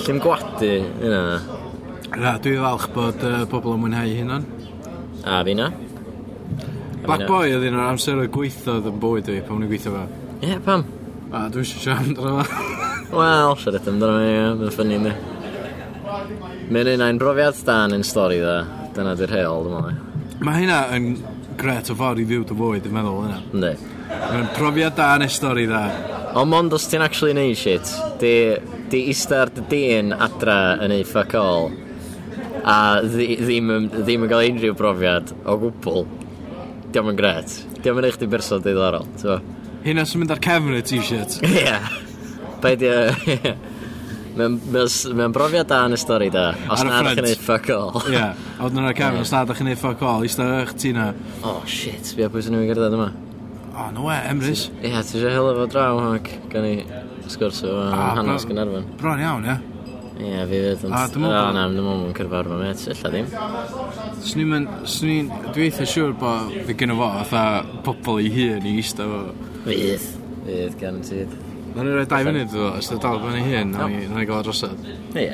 Llym gwadu, yna.
Na, dwi falch bod uh, pobl yn mwynhau eu hunan.
A fi na.
Black Boy oedd un o'r amser o gweithiodd yn bywyd fi, pan wna'n gweithio fo.
Ie, pam?
A dwi eisiau siarad amdano fo.
Wel, siarad amdano fe, ie, mae'n ffynnu ni. Mae'n un ein brofiad dan yn stori dda. Dyna di'r heol, dwi'n meddwl.
Mae hynna yn gret o ffordd i fyw dy fwyd, dwi'n meddwl hynna.
Ynddi.
Mae'n profiad da neu stori da.
Ond mond os ti'n actually neud shit, di, di ista'r dy dyn adra yn ei fuck all, a ddi- ddim, yn- ddim yn cael unrhyw brofiad o gwbl, diolch yn gret. Diolch yn eich di berson diddorol, ti'n fo?
Hynna sy'n mynd ar cefn y t-shirt.
Ie. Be di... ie. Mae'n mae'n brofiad da yn y stori da, os
Ar y
na ydych
front.
yn ei fuck all.
Ie, a wedyn yna'r cefn, os nad ydych chi'n ei ffoc all, eistedd eich ti na.
Oh shit, fi a pwy sy'n ei gyrraedd yma.
O, no we, Emrys.
Ie, yeah, ti eisiau helo fo draw, ac gan i sgwrs o
A,
hanes
bro-
Gynarfon.
Bron iawn, ie.
Ie, yeah, fi fydd.
A,
ond-
dwi'n meddwl
O,
bod-
na, dwi'n meddwl yn cyrfa'r fo met, illa ddim.
Swn i'n mynd, swn i'n, dwi eitha siŵr bod fi gynnu fo, fatha pobl i hun i eistedd fo.
Fydd. Fydd, garantid.
Na ni roi dau funud iddo fo, os da dal fan i hun, na ni na ni gael drosod.
Ie.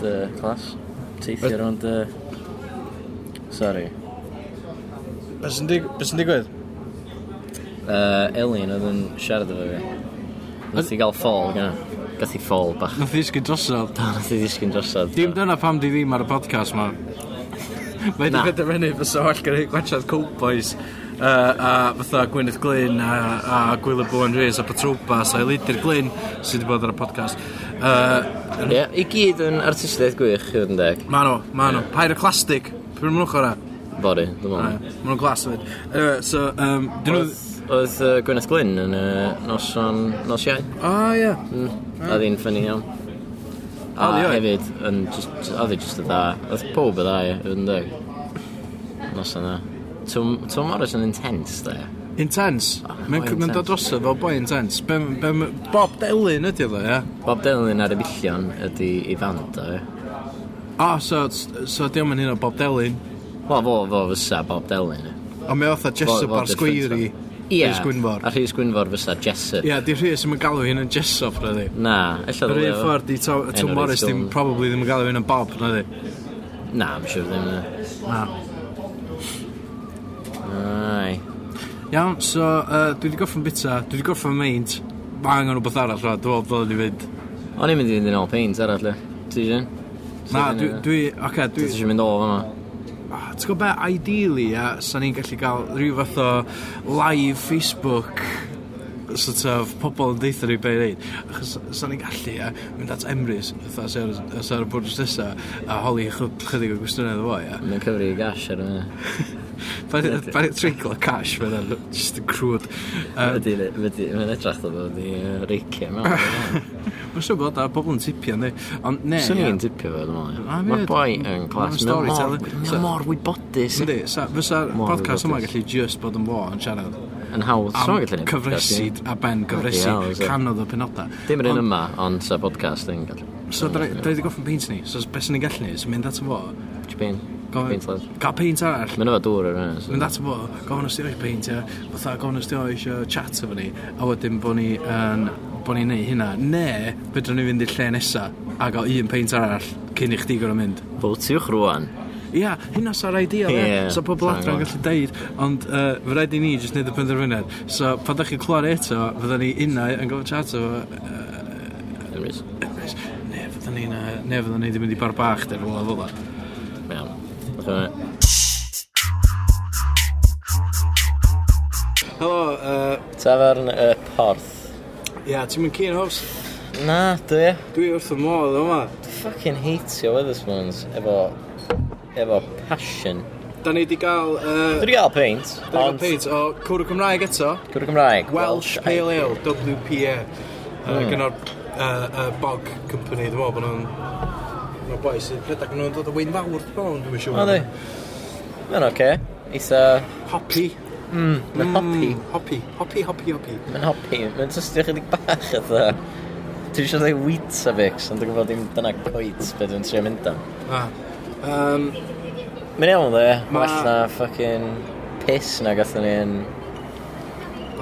Dy clas. Teithio rond y... Sorry.
Bys yn digwydd?
Uh, Elin oedd yn siarad efo fi. Nath i gael ffôl gyna. Gath i ffôl bach.
Nath i ysgu drosod.
Do, nath i ddisgyn drosod.
Dim dyna pam di ddim ar y podcast ma. Mae di
Na.
penderfynu fysa well gyda gwachad Cowboys uh, a fatha Gwyneth Glyn a, a Gwyl y Bwyn Rhys a Patrwba a Elidir Glyn sydd wedi bod ar y podcast. Uh,
Ie, i gyd yn artistiaeth gwych, i fod yn deg.
ma nhw, ma nhw. Pyroclastic. Pryd mwyn ochr
Bori, dwi'n
Ma
meddwl.
nhw'n glas o fyd. Anyway, so, um, dyn nhw...
Oedd oedd, yy, Gwyneth Glyn yn yy, noson, nos iau.
O, ie.
A ddyn ffynnu iawn. A
Hmm. O, di oedd?
hefyd, yn just, a ddi just y dda. Oedd pob y dda, ie, oedd yn deg. Nos yna. Tom Morris yn intense, da.
Intense. Mae'n
boy
c- mae'n
intense.
dod drosodd fel boi intense. Be- be- ma- Bob Delyn ydi o, ie?
Bob Dylan ar y billion ydi i fand, da. ie.
O, so, so diolch yn hyn o Bob Delyn.
Wel, fo, fo fysa Bob Dylan. ie.
Ond mae fatha
Fo-
Jessup
fo
ar
different,
sgwiri.
fo. Ie.
Rhys Gwynfor.
A Rhys Gwynfor fysa Jessup.
Ie, di rhys ddim yn galw hyn yn Jessup, na di.
Na, ella
Yr
ddylai
un
fo.
ffordd, di Tom
Enw'r
Tom Morris
un
ddim,
sôn.
probably ddim yn galw hyn yn Bob, na di.
Na, I'm sure ddim. ie.
Na.
Ai.
Iawn, so, yy, dwi wedi gorffen bita, dwi wedi gorffen meint. Mae angen rhywbeth arall, rhaid, dwi'n dod i fynd.
O'n i'n mynd i fynd yn ôl peint arall, ie. Ti eisiau?
Na, dwi, dwi, oce,
Ti
dwi,
eisiau mynd ôl yma?
Ah, Ti'n gwybod be, ideally, a sa'n ni'n gallu cael rhyw fath o live Facebook sort of pobl yn deitha ni be i reid. Achos sa'n ni'n gallu a, mynd at Emrys, fatha sy'n ar y bwrdd nesa, a holi chw- chydig o gwestiynau iddo fo, ia.
Mae'n cyfri i gash ar yna.
Pa'n treiglo cash, mae'n ar- just yn crwd. Mae'n
Ydy, ydy, mae'n edrach o bod i reicio mewn.
siŵr bod a pobl yn tipio, ne? Ond ne,
Swn
ia.
i'n tipio fe, dwi'n meddwl.
A mi
Mae'r
yd-
boi yn
ma'n
clas.
story
Mae mor,
teller.
mae mor wybodus.
Yndi, sa- fysa'r
Mor
podcast yma
wybodus.
gallu just bod yn fo yn siarad.
yn hawdd. Sa'n nhw'n gallu
am
neud
cyfresid a ben
Bloody hell,
gyfresu
so-
canodd y penodau.
Dim yn un
Ond-
yma, ond sa podcast yn gallu.
So, da ni wedi goffin peint ni. So, beth sy'n ni'n gallu ni, sy'n mynd at y fo.
Japan.
gofyn-
Paint lad.
Cael peint arall.
Mae'n efo dŵr ar hynny.
Mynd at y fo, gofyn os di oes peint, ia. Fytha, gofyn os di oes yy, chat efo ni. A wedyn bo ni yn bo ni'n neud hynna. Ne, fedrwn ni fynd i'r lle nesa a gael un peint arall cyn i chdi gorau mynd.
Mm. Votiwch rwan.
Ia, hynna sa'r ideal, ia.
Ie,
Yeah, so pobl
sa'n
adran yn gallu deud, ond uh, fy rhaid i ni jyst neud y penderfyniad. So, pan da chi'n clywed eto, fydda ni unau yn gofyn chat efo
Ymrys.
Emrys. Ne, fydda ni na, ne, fydda ni wedi mynd i bar bach, dyn nhw'n fel yna.
Iawn. Fatha hwnna.
Helo, uh,
Tafern y porth.
ia, ti'n mynd cyn hofs?
Na, dwi.
Dwi wrth y modd yma.
Fucking heitio Witherspoons efo... efo passion.
Da ni wedi gael, uh,
Dwi wedi gael paint,
Dyna page o Cwrw Cymraeg eto,
Gwrdd Gymraeg.
Welsh Pale Ale, WPA, uh, mm. gyda'r uh, uh, Bog Company, dwi'n meddwl bod nhw'n... Mae'n boi sydd rhedeg nhw'n dod o Wyn Fawr, dwi'n meddwl, dwi'n siŵr.
O, dwi. Mae'n oce. Eitha...
Hoppy.
Mm, mae'n hoppy.
Hoppy, hoppy, hoppy, hoppy.
Mae'n hoppy. Mae'n tystio chydig bach eitha. Dwi eisiau dweud Weetabix, ond dwi'n gwybod dim dyna coed beth dwi'n trio mynd am.
Ah. Um,
Mae'n iawn dde,
Ma-
well na ffucking piss na gatho ni yn...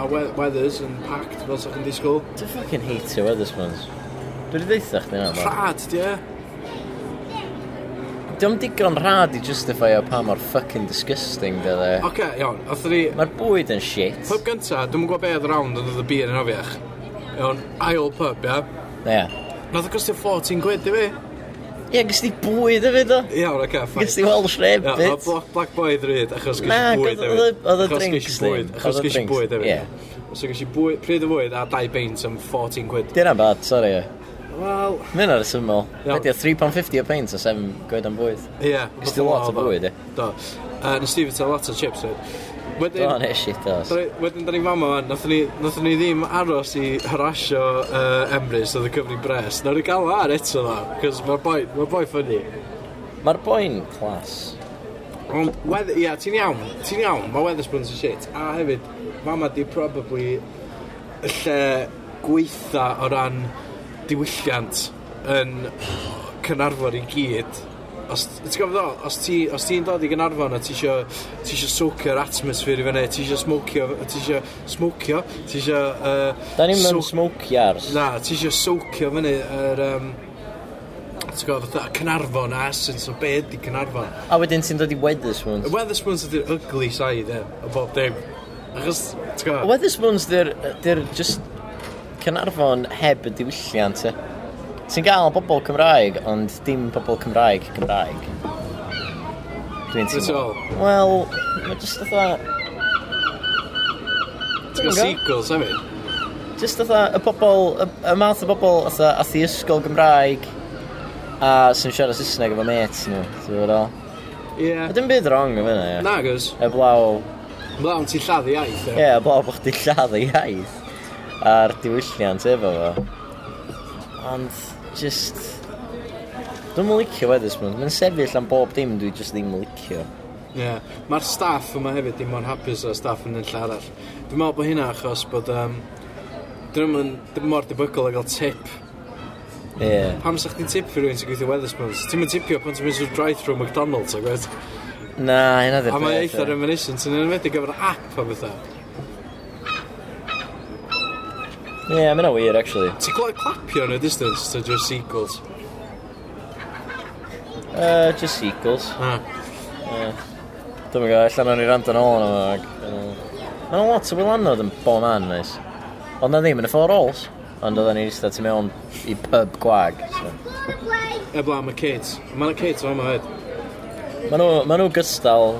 a we weathers yn packed, fel sa'ch yn disgwyl.
Dwi'n ffucking heitio Weatherspoons. Dwi wedi deitha chdi na. do?
Rhad, di e?
Dwi'n digon rhad i justifio pa mor fucking disgusting dde dde.
Oce, iawn, oedd ni...
Mae'r bwyd yn shit.
Pub gynta, dwi'n gwybod beth oedd round ond oedd y beer yn ofiach. Iawn, ail pub, ia.
Ie.
Nath o gostio 14 quid, di fi?
Ie, gys di bwyd hefyd o.
Iawn, oce, okay, fine.
Gys di Welsh
Ia, oedd
rabbit.
Black, Black Boy ddryd, achos gysi
Na,
bwyd
oedd- oedd y- oedd y
Achos gysi
drinks
bwyd,
thing.
Achos
Oedd y
gysi
drinks,
bwyd
ie.
hefyd. So gysi bwyd, pryd y bwyd a dau beint am 14 quid.
Dyna bad, sori.
Wel,
Mae'n ar y syml.
Iawn.
Ydy o 3.50 o peint o 7 gwed am bwyd.
ie.
Gys di lot o
fatha
bwyd, ie.
Do. Uh, Nes ti fyta lot o chips, rhaid.
Do,
Wedyn,
ne, shit os.
da ni- wedyn da ni'n fama fan, nath ni, nathon ni ddim aros i harasio uh, Emrys oedd y cyfri bres. Nawr ni gael ar eto dda, cos mae'r boi, mae'r boi ffynnu.
Mae'r boi'n clas.
Ond, wedd- ie, yeah, ti'n iawn, ti'n iawn, mae Weatherspoons yn shit. A hefyd, fama di probably y lle gweitha o ran diwylliant yn Cynarfon i gyd. Os, ti'n gofod o, os ti- os ti'n dod i Gynarfon a ti isio, ti isio soaker atmosphere i fyny, ti isio smocio, ti isio smocio, ti isio... Uh,
Da ni'n mynd smoke yars.
Na, ti eisiau socio fyny yr... Um, ti'n gwybod, fatha Cynarfon a essence o be ydi Cynarfon.
A wedyn ti'n dod i Weatherspoons.
Y Weatherspoons ydy'r ugly side e, o bob dim. Achos, ti'n gwybod,
Weatherspoons dy'r... dy'r just... Cynarfon heb y diwylliant, e. Ti'n gael bobl Cymraeg, ond dim bobl Cymraeg Cymraeg. Dwi'n
That's
teimlo.
all.
Wel, mae just fatha...
ti'n gwybod sequels hefyd.
Just fatha y bobl... Y, y math o bobl fatha atheisgol Gymraeg a sy'n siarad Saesneg efo mates nhw, ti'n fawr o.
Ie.
A dim byd wrong efo hynna, ie.
Na, gos,
Heblaw
mlawn ti'n lladd iaith e.
Ie, yeah, bod bod chdi lladd y iaith a'r diwylliant efo fo. Ond, just... Dwi'n mwyn licio Weatherspoon. Mae'n sefyll am bob dim dwi just ddim yn licio.
Ie. Mae'r staff yma hefyd dim ond hapus o staff yn y lle arall. Dwi'n meddwl bod hynna achos bod... Um, Dyn nhw'n ddim mor debygol o gael tip.
Ie. Yeah.
Pam sa'ch ti'n tip i rhywun sy'n gweithio Weatherspoons? Ti'n mynd tipio pan ti'n mynd trwy drive-thru McDonald's, ag oedd?
Na, hynna ddim
A mae eitha reminiscent yn enwedig gyfer app a bethau.
Ie, yeah, mae'n wir, actually.
Ti'n clywed clapio yn y distance to just sequels?
Uh, just sequels.
Ah.
Dwi'n mynd gael, allan o'n i rand yn ôl yna. Mae'n lot o wylanod yn bo man, neis. Ond na ddim yn y four rolls. Ond oedden ni eistedd tu mewn i pub gwag. So.
Ebla, mae Kate. Mae'n Kate o'n hefyd.
Mae nhw, ma nhw gystal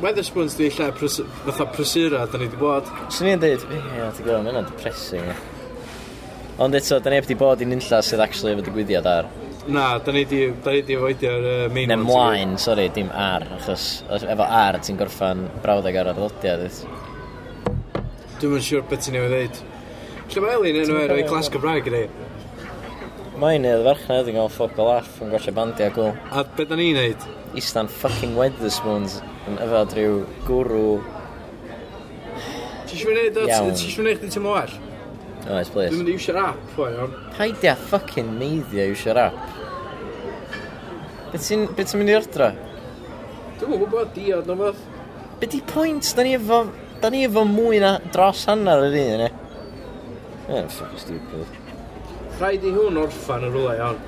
Weatherspoons di lle prys, fatha prysura, da ni di bod.
Swn i'n dweud, ie, yeah, ti'n gwybod, mae'n depressing. ie." Ond eto, da ni heb di bod i nynlla sydd actually efo digwyddiad ar.
Na, da ni di, da ni di oedio'r uh, main
Neu
ones.
mlaen, sori, dim ar, achos os- efo ar ti'n gorffan brawddeg ar adlodiad. wyt.
Dwi'm yn siŵr beth ti'n ei ddeud. Lle mae Elin enw er o'i glas Gymraeg i ni?
Mae'n i'r farchnad yn gael ffoc o laff yn gwachio bandiau gwl.
A beth da ni'n neud?
Istan fucking Weatherspoons yn efo rhyw gwrw.
Ti'n
eisiau fi wneud o? Ti-
Iawn.
Ti eisiau wneud chdi teimlo well?
Oes,
Dwi'n
please.
mynd i iwsio'r app, fwy, iawn.
Paidia fucking meiddia yw siarad. Beth ti'n be ti mynd i ordro?
Dwi'n yn gwybod, diod, no fath.
Be di pwynt? Da ni efo, da ni efo mwy na dros hanner yr un, e? Ie, fucking stupid.
Rhaid i hwn orffan yn rhywle, iawn.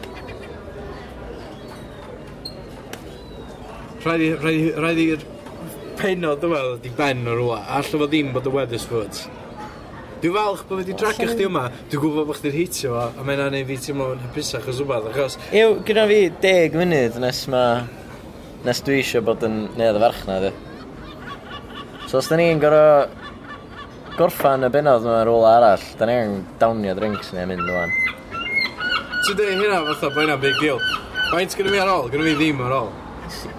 Rhaid i, rhaid i, rhaid i'r penod yma ddod i ben o rhywle, a allan fo ddim bod y Weathersford. Dwi'n falch bod wedi dragio chdi yma, dwi'n gwybod bod chdi'n hitio fo, a mae'n aneu fi teimlo'n hapusach o rhywbeth, achos
Ew, gyda fi 10 munud nes ma... Nes dwi eisiau bod yn neu'r farchnad, e. So os da ni'n gorfod gorffan y benod mewn rôl arall, da ni'n dawnio drinks neu mynd o'n.
ti'n dweud hynna fatha bod hynna'n big deal. Faint gyda fi ar ôl, gyda fi ddim ar ôl.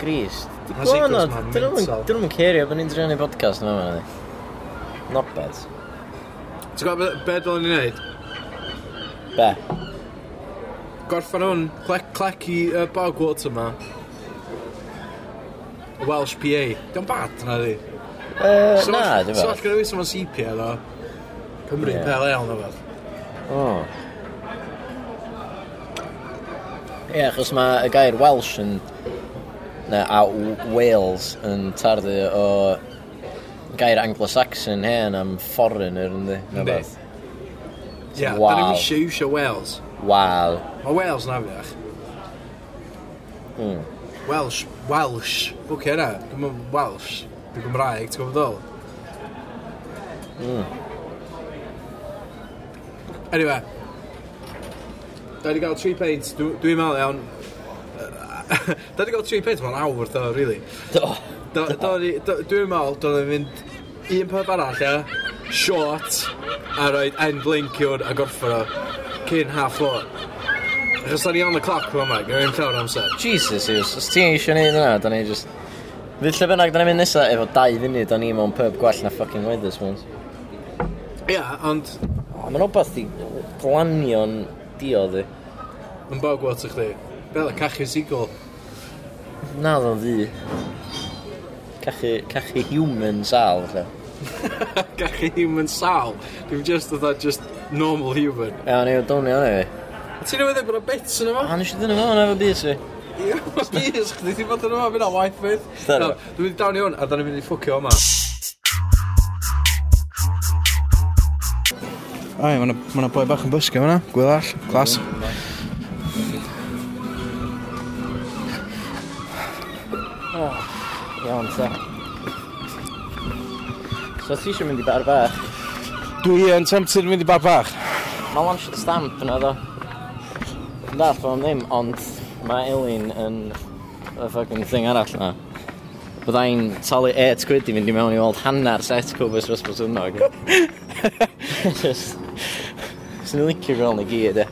Grist. Di
Ma'
gwon o,
Seagulls ma'n
dyn
mental.
nhw'n cerio bod ni'n drio ni podcast yma yma. Not bad.
Ti'n gwybod be- be dylen ni wneud?
Be?
Gorffan hwn, clec, clec i uh, Bogwater ma. Welsh PA. Dwi'n bad na di.
Uh,
So
na,
all- So
dwi'n
all
fawr.
gyda fi sy'n ma'n sepia ddo. Cymru'n
Ie.
pel iawn o fath.
O. Ie, achos mae y gair Welsh yn... Na, a W- Wales yn tardu o gair anglo-saxon hen am foreigner yndi? neu
Yndi.
wbath.
Ie, da
Wow.
ni'n eisiau iwsio Wales.
Wal.
Mae Wales na fiach.
Mm.
Welsh, Welsh. Bwc hynna, dwi'n mynd Welsh. Dwi'n Gymraeg, ti'n gwybod ddol?
Hmm.
Anyway. Da ni gael 3 paint, Dw- dwi'n meddwl iawn. Da ni gael 3 paint, mae'n awr ddo, really.
Do.
Do- do ni- do- Dwi'n meddwl, do'n ni'n mynd un pub arall, ia? Short, a roed end blink i hwn a gorffen o. Cyn half four. Achos da ni on the clock, mae'n mag, gynnu'n llawer o amser.
Jesus, Iws. Os ti eisiau neud yna, da ni just... Fydd lle bynnag, da ni'n mynd nesaf efo dau funud o'n i mewn pub gwell na fucking Weatherspoons.
Ia, ond
O, mae'n obath i glanio'n diodd i.
yn bog wat i chdi. Fel y cachu seagull.
Na, ddo'n ddi. Cachu, cachu human sal, lle.
cachu human sal. Dwi'n just oedd just normal human.
Iawn, i'w downio hwnna i fi.
Ti'n meddwl bod y bits yn yma?
A nes i ddyn nhw efo bus fi.
Ia, please, chdi ti'n bod yn yma, fyna waith fydd.
Sorry.
No, Dwi'n mynd i dawn i hwn, a da ni'n mynd i ffwcio yma.
Ai, mae yna boi bach yn bysgu fyna, gwyllall, glas.
Iawn, ta. So ti eisiau mynd i bar bach?
Dwi yn tempted i fynd i bar bach.
Mae lunch at stamp yna ddo. Na, ffordd ddim, ond mae Elin yn y fucking thing arall yna. Bydda i'n talu 8 quid i fynd i mewn i weld hanner set cwbys dros bod hwnog. Just... Swn i'n licio gweld ni gyd, e.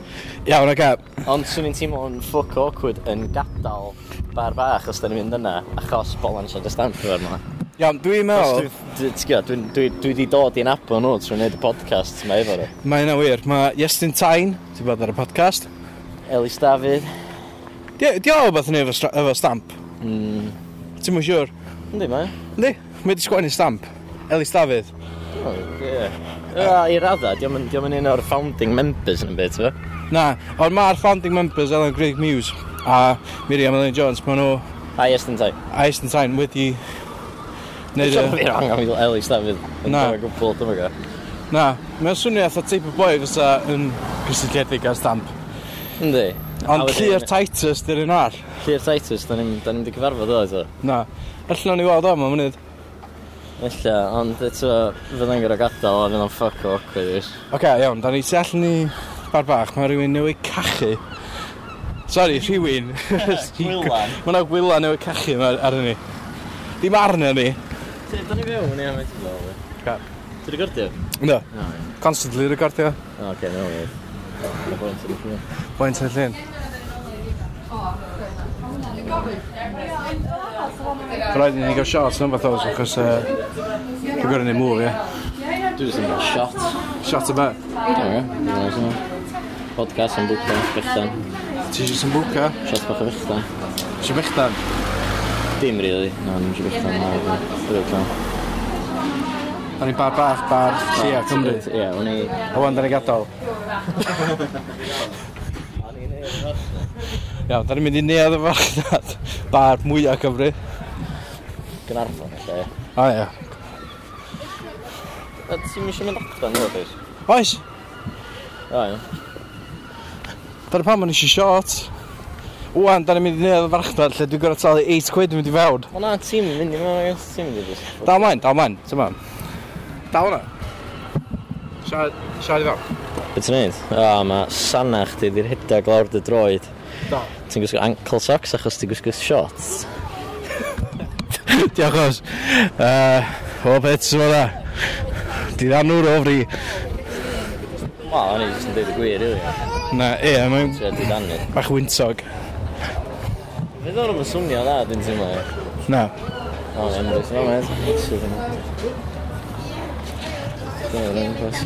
Iawn, oce.
Ond swn i'n teimlo'n ffuck awkward yn gadael bar bach os da ni'n mynd yna, achos bolan siad y stamp efo'r yma.
Iawn, dwi'n meddwl...
Dwi wedi dod i'n abo nhw trwy wneud y podcast yma efo nhw.
Mae yna wir. Mae Iestyn Tain, ti'n bod ar y podcast.
Elis Dafydd.
Di di o beth yn efo, stra- efo stamp? Hmm.
Mm,
Ti'n mwyn siwr?
Yndi mae.
Di, mae di sgwennu stamp. Elis Dafydd.
O, ie. Yy, I radda, diolch yn diolch yn un o'r founding members yn y byd, fe?
Na, ond mae'r founding members Ellen Greg Muse a Miriam Ellen Jones, maen nhw
A yes yn tai.
a Iestyn Tain wedi... Neud
Dwi'n
y...
fi rong am i Elis Dafydd.
Na.
Dwi'n gwybod, dwi'n gwybod.
Na, mae'n swnio eitha teip o boi fysa yn gysylltiedig ar stamp.
Yndi.
Ond Clear Titus dy'r un all.
Clear Titus, da ni'n mynd i gyfarfod o, eto.
Na. Allan ni weld o, mae'n mynd.
Ella, ond eto, fydda'n gyda gadael, a fydda'n ffuck o awkward, ywys.
Oce, okay, iawn, da ni ti allan ni bar bach, mae rhywun newydd cachu. Sori, rhywun.
Gwylan.
Mae yna gwyla newydd cachu yma ar ni. Dim arna ni.
Ti, da ni fewn, ia, mae'n ti'n dod.
Ca.
Ti'n recordio?
No,
No, ie.
constantly recordio.
O, oce, mae'n weird. Mae'n bwynt yn y ffilm.
Bwynt yn llun. Rhaid i ni gael shots yn fath oes, achos uh, dwi'n gorau ni move, ie.
Dwi'n sy'n mynd shot.
Shot yma.
Ie, ie. Podcast yn bwcdan, bechdan.
Ti eisiau sy'n bwca?
Shot bach o bechdan.
Eisiau bechdan?
Dim rili. Na, ddim eisiau bechdan. Na, dwi'n dwi'n dwi'n
O'n i'n bar bach, bar Llia, Cymru.
Ie, o'n i...
A wan, da ni gadael. Iawn, da ni'n mynd i neuad o farchnad. Bar mwyaf Cymru.
Gynarfon, lle.
O, ia.
A ti'n mysio mynd adran, nhw, beth?
Oes,
O, iawn.
da ni pan ma'n eisiau short. Wan, da ni'n mynd i neuad o farchnad lle dwi'n gorau talu 8 quid yn mynd i fewn.
O na, ti'n mynd i mewn, I guess, ti'n mynd i just...
Dal mlaen, dal mlaen, ti'n mam. Dal hwnna. Siarad, siarad i fewn.
Be ti'n neud? O, mae sanach di di'r hedag lawr dy droed.
Do.
Ti'n gwisgo ankle socks achos ti'n gwisgo shorts.
Diolch os. Uh, o beth sy'n fawr da. Di ddanwr o fri.
Wel, o'n i jyst yn dweud y gwir, ili.
Na, ie, mae'n
Ti'n rhaid i danu.
bach wyntog.
Fydd o'n rhywbeth swnio dda, dwi'n teimlo. ie.
Na.
O, yn beth. O, mae'n sydd yn... Dwi'n rhaid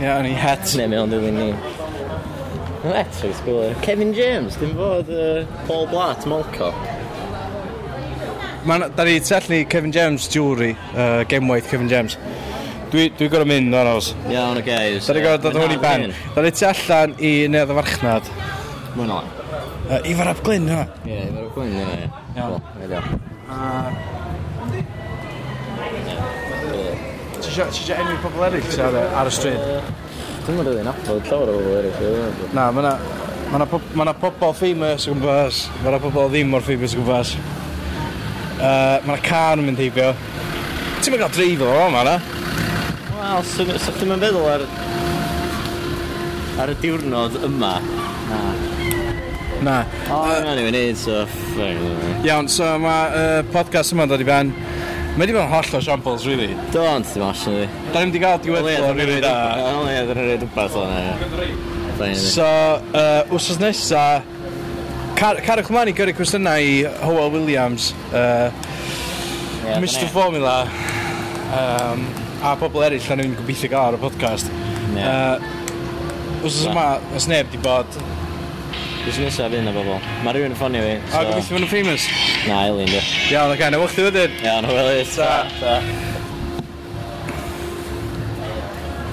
Ie, o'n i het.
Neu mewn dilyn ni. Yn eto, sgwyl. Kevin James, dim fod uh, Paul Blatt, Malco.
Man, da ni tellu Kevin James jewelry, uh, gemwaith Kevin James. Dwi, dwi gorau mynd o'n os.
Iawn, o guys.
Da ni gorau dod hwn i ben. Da ni tu allan i neu'r farchnad.
Mwyn o'n.
Uh, I farab glyn, yna.
Ie, efo'r gwyn yna, ie.
Iawn.
Iawn.
Ti eisiau enw pobl eraill ti ar, y- ar y stryd?
Dwi'n mynd i'n nabod llawer o bobl eraill.
Na, mae yna... Mae yna pob- ma' 'na pobl famous o gwmpas. Mae yna pobl ddim mor famous o gwmpas. Uh, mae yna car yn mynd heibio. Ti'n mynd gael dreifio o yma, na?
Wel, swn so, so, i'n feddwl ar... ar y diwrnod yma.
Na.
O, na ni'n mynd so... fuck.
Iawn, so mae uh, podcast yma'n dod i ben. Mae wedi bod yn holl o shambles, really.
Do, ond ti'n mas yn ddi.
Da ni'n di gael diweddglo rili da.
O, ie, dwi'n rhaid wbeth o'na, ie. Fine, ie.
So, uh, wrsos nesa, car- carwch mlaen i gyrru cwestiynau i Howell Williams, uh,
Ie,
Mr
dyna
Formula, um, a pobl eraill a ni'n gobeithio gael ar y podcast.
ni. Ie.
Uh, wrsos
Na.
yma, os neb di bod,
Dwi'n nesaf fynd o bobl. Mae rhywun yn ffonio fi.
a gobeithio fan yn famous.
Na, Eileen, di.
Iawn, ac anna, wach ti wedyn.
Iawn, Willy, ta. ta.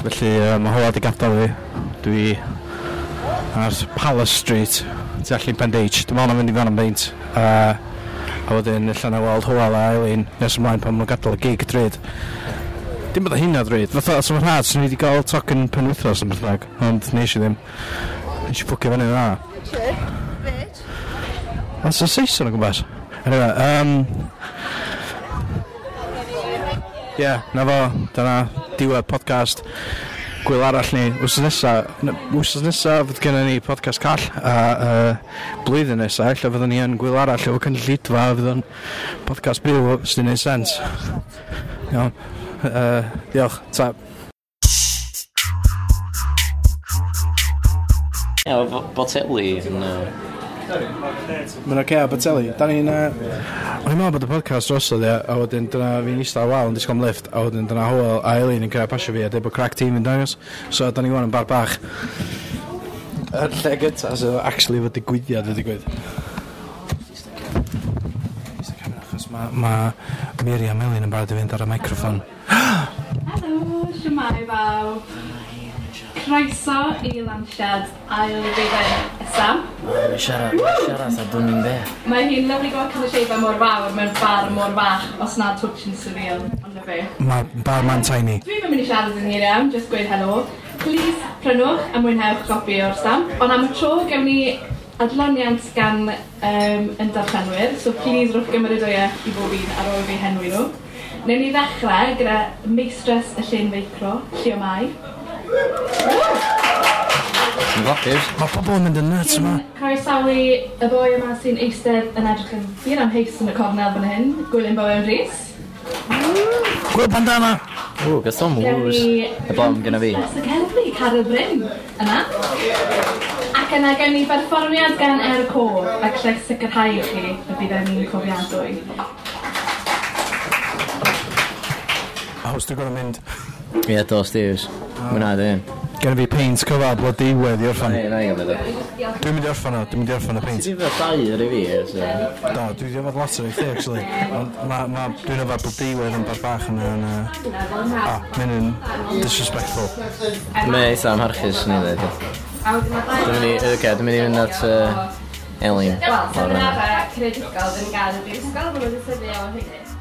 Felly, uh, mae Howell di gadael fi. Dwi ar Palace Street, tu allu Pendeich. Dwi'n meddwl na fynd i fan am beint. Uh, a wedyn, allan na weld Howell a Eileen nes ymlaen pan maen gadael y gig dryd. Dim bod y hynna dryd. Fatha, os yma'n rhad, swn i wedi gael toc yn penwythnos yn bythag. Ond nes i ddim. Nes i ffwcio fyny dda. Ond sy'n Saeson o gwmpas. Anyway, um... Ie, yeah, na fo, dyna diwedd podcast gwyl arall ni. Wsos nesa, n- wsos nesa fydd gennym ni podcast call a uh, blwyddyn nesa, lle fyddwn ni yn gwyl arall efo cynllidfa, fydd o'n podcast byw sy'n neud sens. Iawn, uh, diolch, ta.
Ie, o Botelli yn... yy,
Mae'n oce a Batelli, da ni'n... Uh... O'n i'n meddwl bod y podcast drosodd ia, a wedyn dyna fi'n eistedd ar wal yn disgom lift, a wedyn dyna Howell a Eileen yn cyrra pasio fi a dweud bod crack team yn dangos, so da ni wan yn bar bach. Yr lle gyta, so actually fod digwyddiad y digwydd. Eistedd y camera, achos Mae ma Miriam Elin yn barod i fynd ar y microffon.
Helo, siwmai bawb. Croeso i lansiad ail ddiben Sam.
Mae'n siarad, mae'n siarad, a dwi'n mynd be.
Mae hi'n lyflu gweld cynulleidfa mor fawr mewn bar mor fach, os na twtch yn surreal, ond y fe.
Mae barman tiny.
Dwi'n mynd i siarad yn hir iawn, jyst gweud helo. Plis, prynwch a mwynhewch gopi o'r Sam. Ond am y tro, gewn ni adloniant gan um, yn darllenwyr, so plis rwch gymrydwyaeth i bob un ar ôl fi henwi nhw. Newn ni ddechrau gyda meistres y llyn feicro, Llio Mai.
Yn glapus.
Mae pobl yn mynd yn nuts yma.
Cyn croesawu y boi yma sy'n eistedd yn edrych yn hir am heis yn y cornel fan hyn, Gwilym Bowen Rhys.
Gwyl bandana!
Ww, gath o'n wws. Y blom gyda fi.
That's y cerddi, Carol Bryn, yna. Ac yna gen ni berfformiad gan Er Co, ac lle sicrhau i chi y bydd ni'n cofiadwy.
A hwst dwi'n gorau mynd.
Ie, do, Steves. Mwynhau dy hyn.
Gen i fi peint cyfad o diwedd i e, orffan.
Ei, na i gymryd o.
Dwi'n mynd i orffan o, dwi'n mynd i orffan y peint.
Ti fe dau ar i fi, so...
Do, dwi wedi efo lot o'r eich actually. Ond ma, ma, dwi'n efo bod diwedd yn bar bach yn... yn uh, a, mynd yn disrespectful.
Mae eitha amharchus ni ddweud. Dwi'n mynd i, oce, dwi'n mynd i fynd at uh, Elin.
Wel,
Lawr
sy'n
yna.
arfer creadigol yn gael yn brifysgol, mae'n wedi sefydlu o hynny.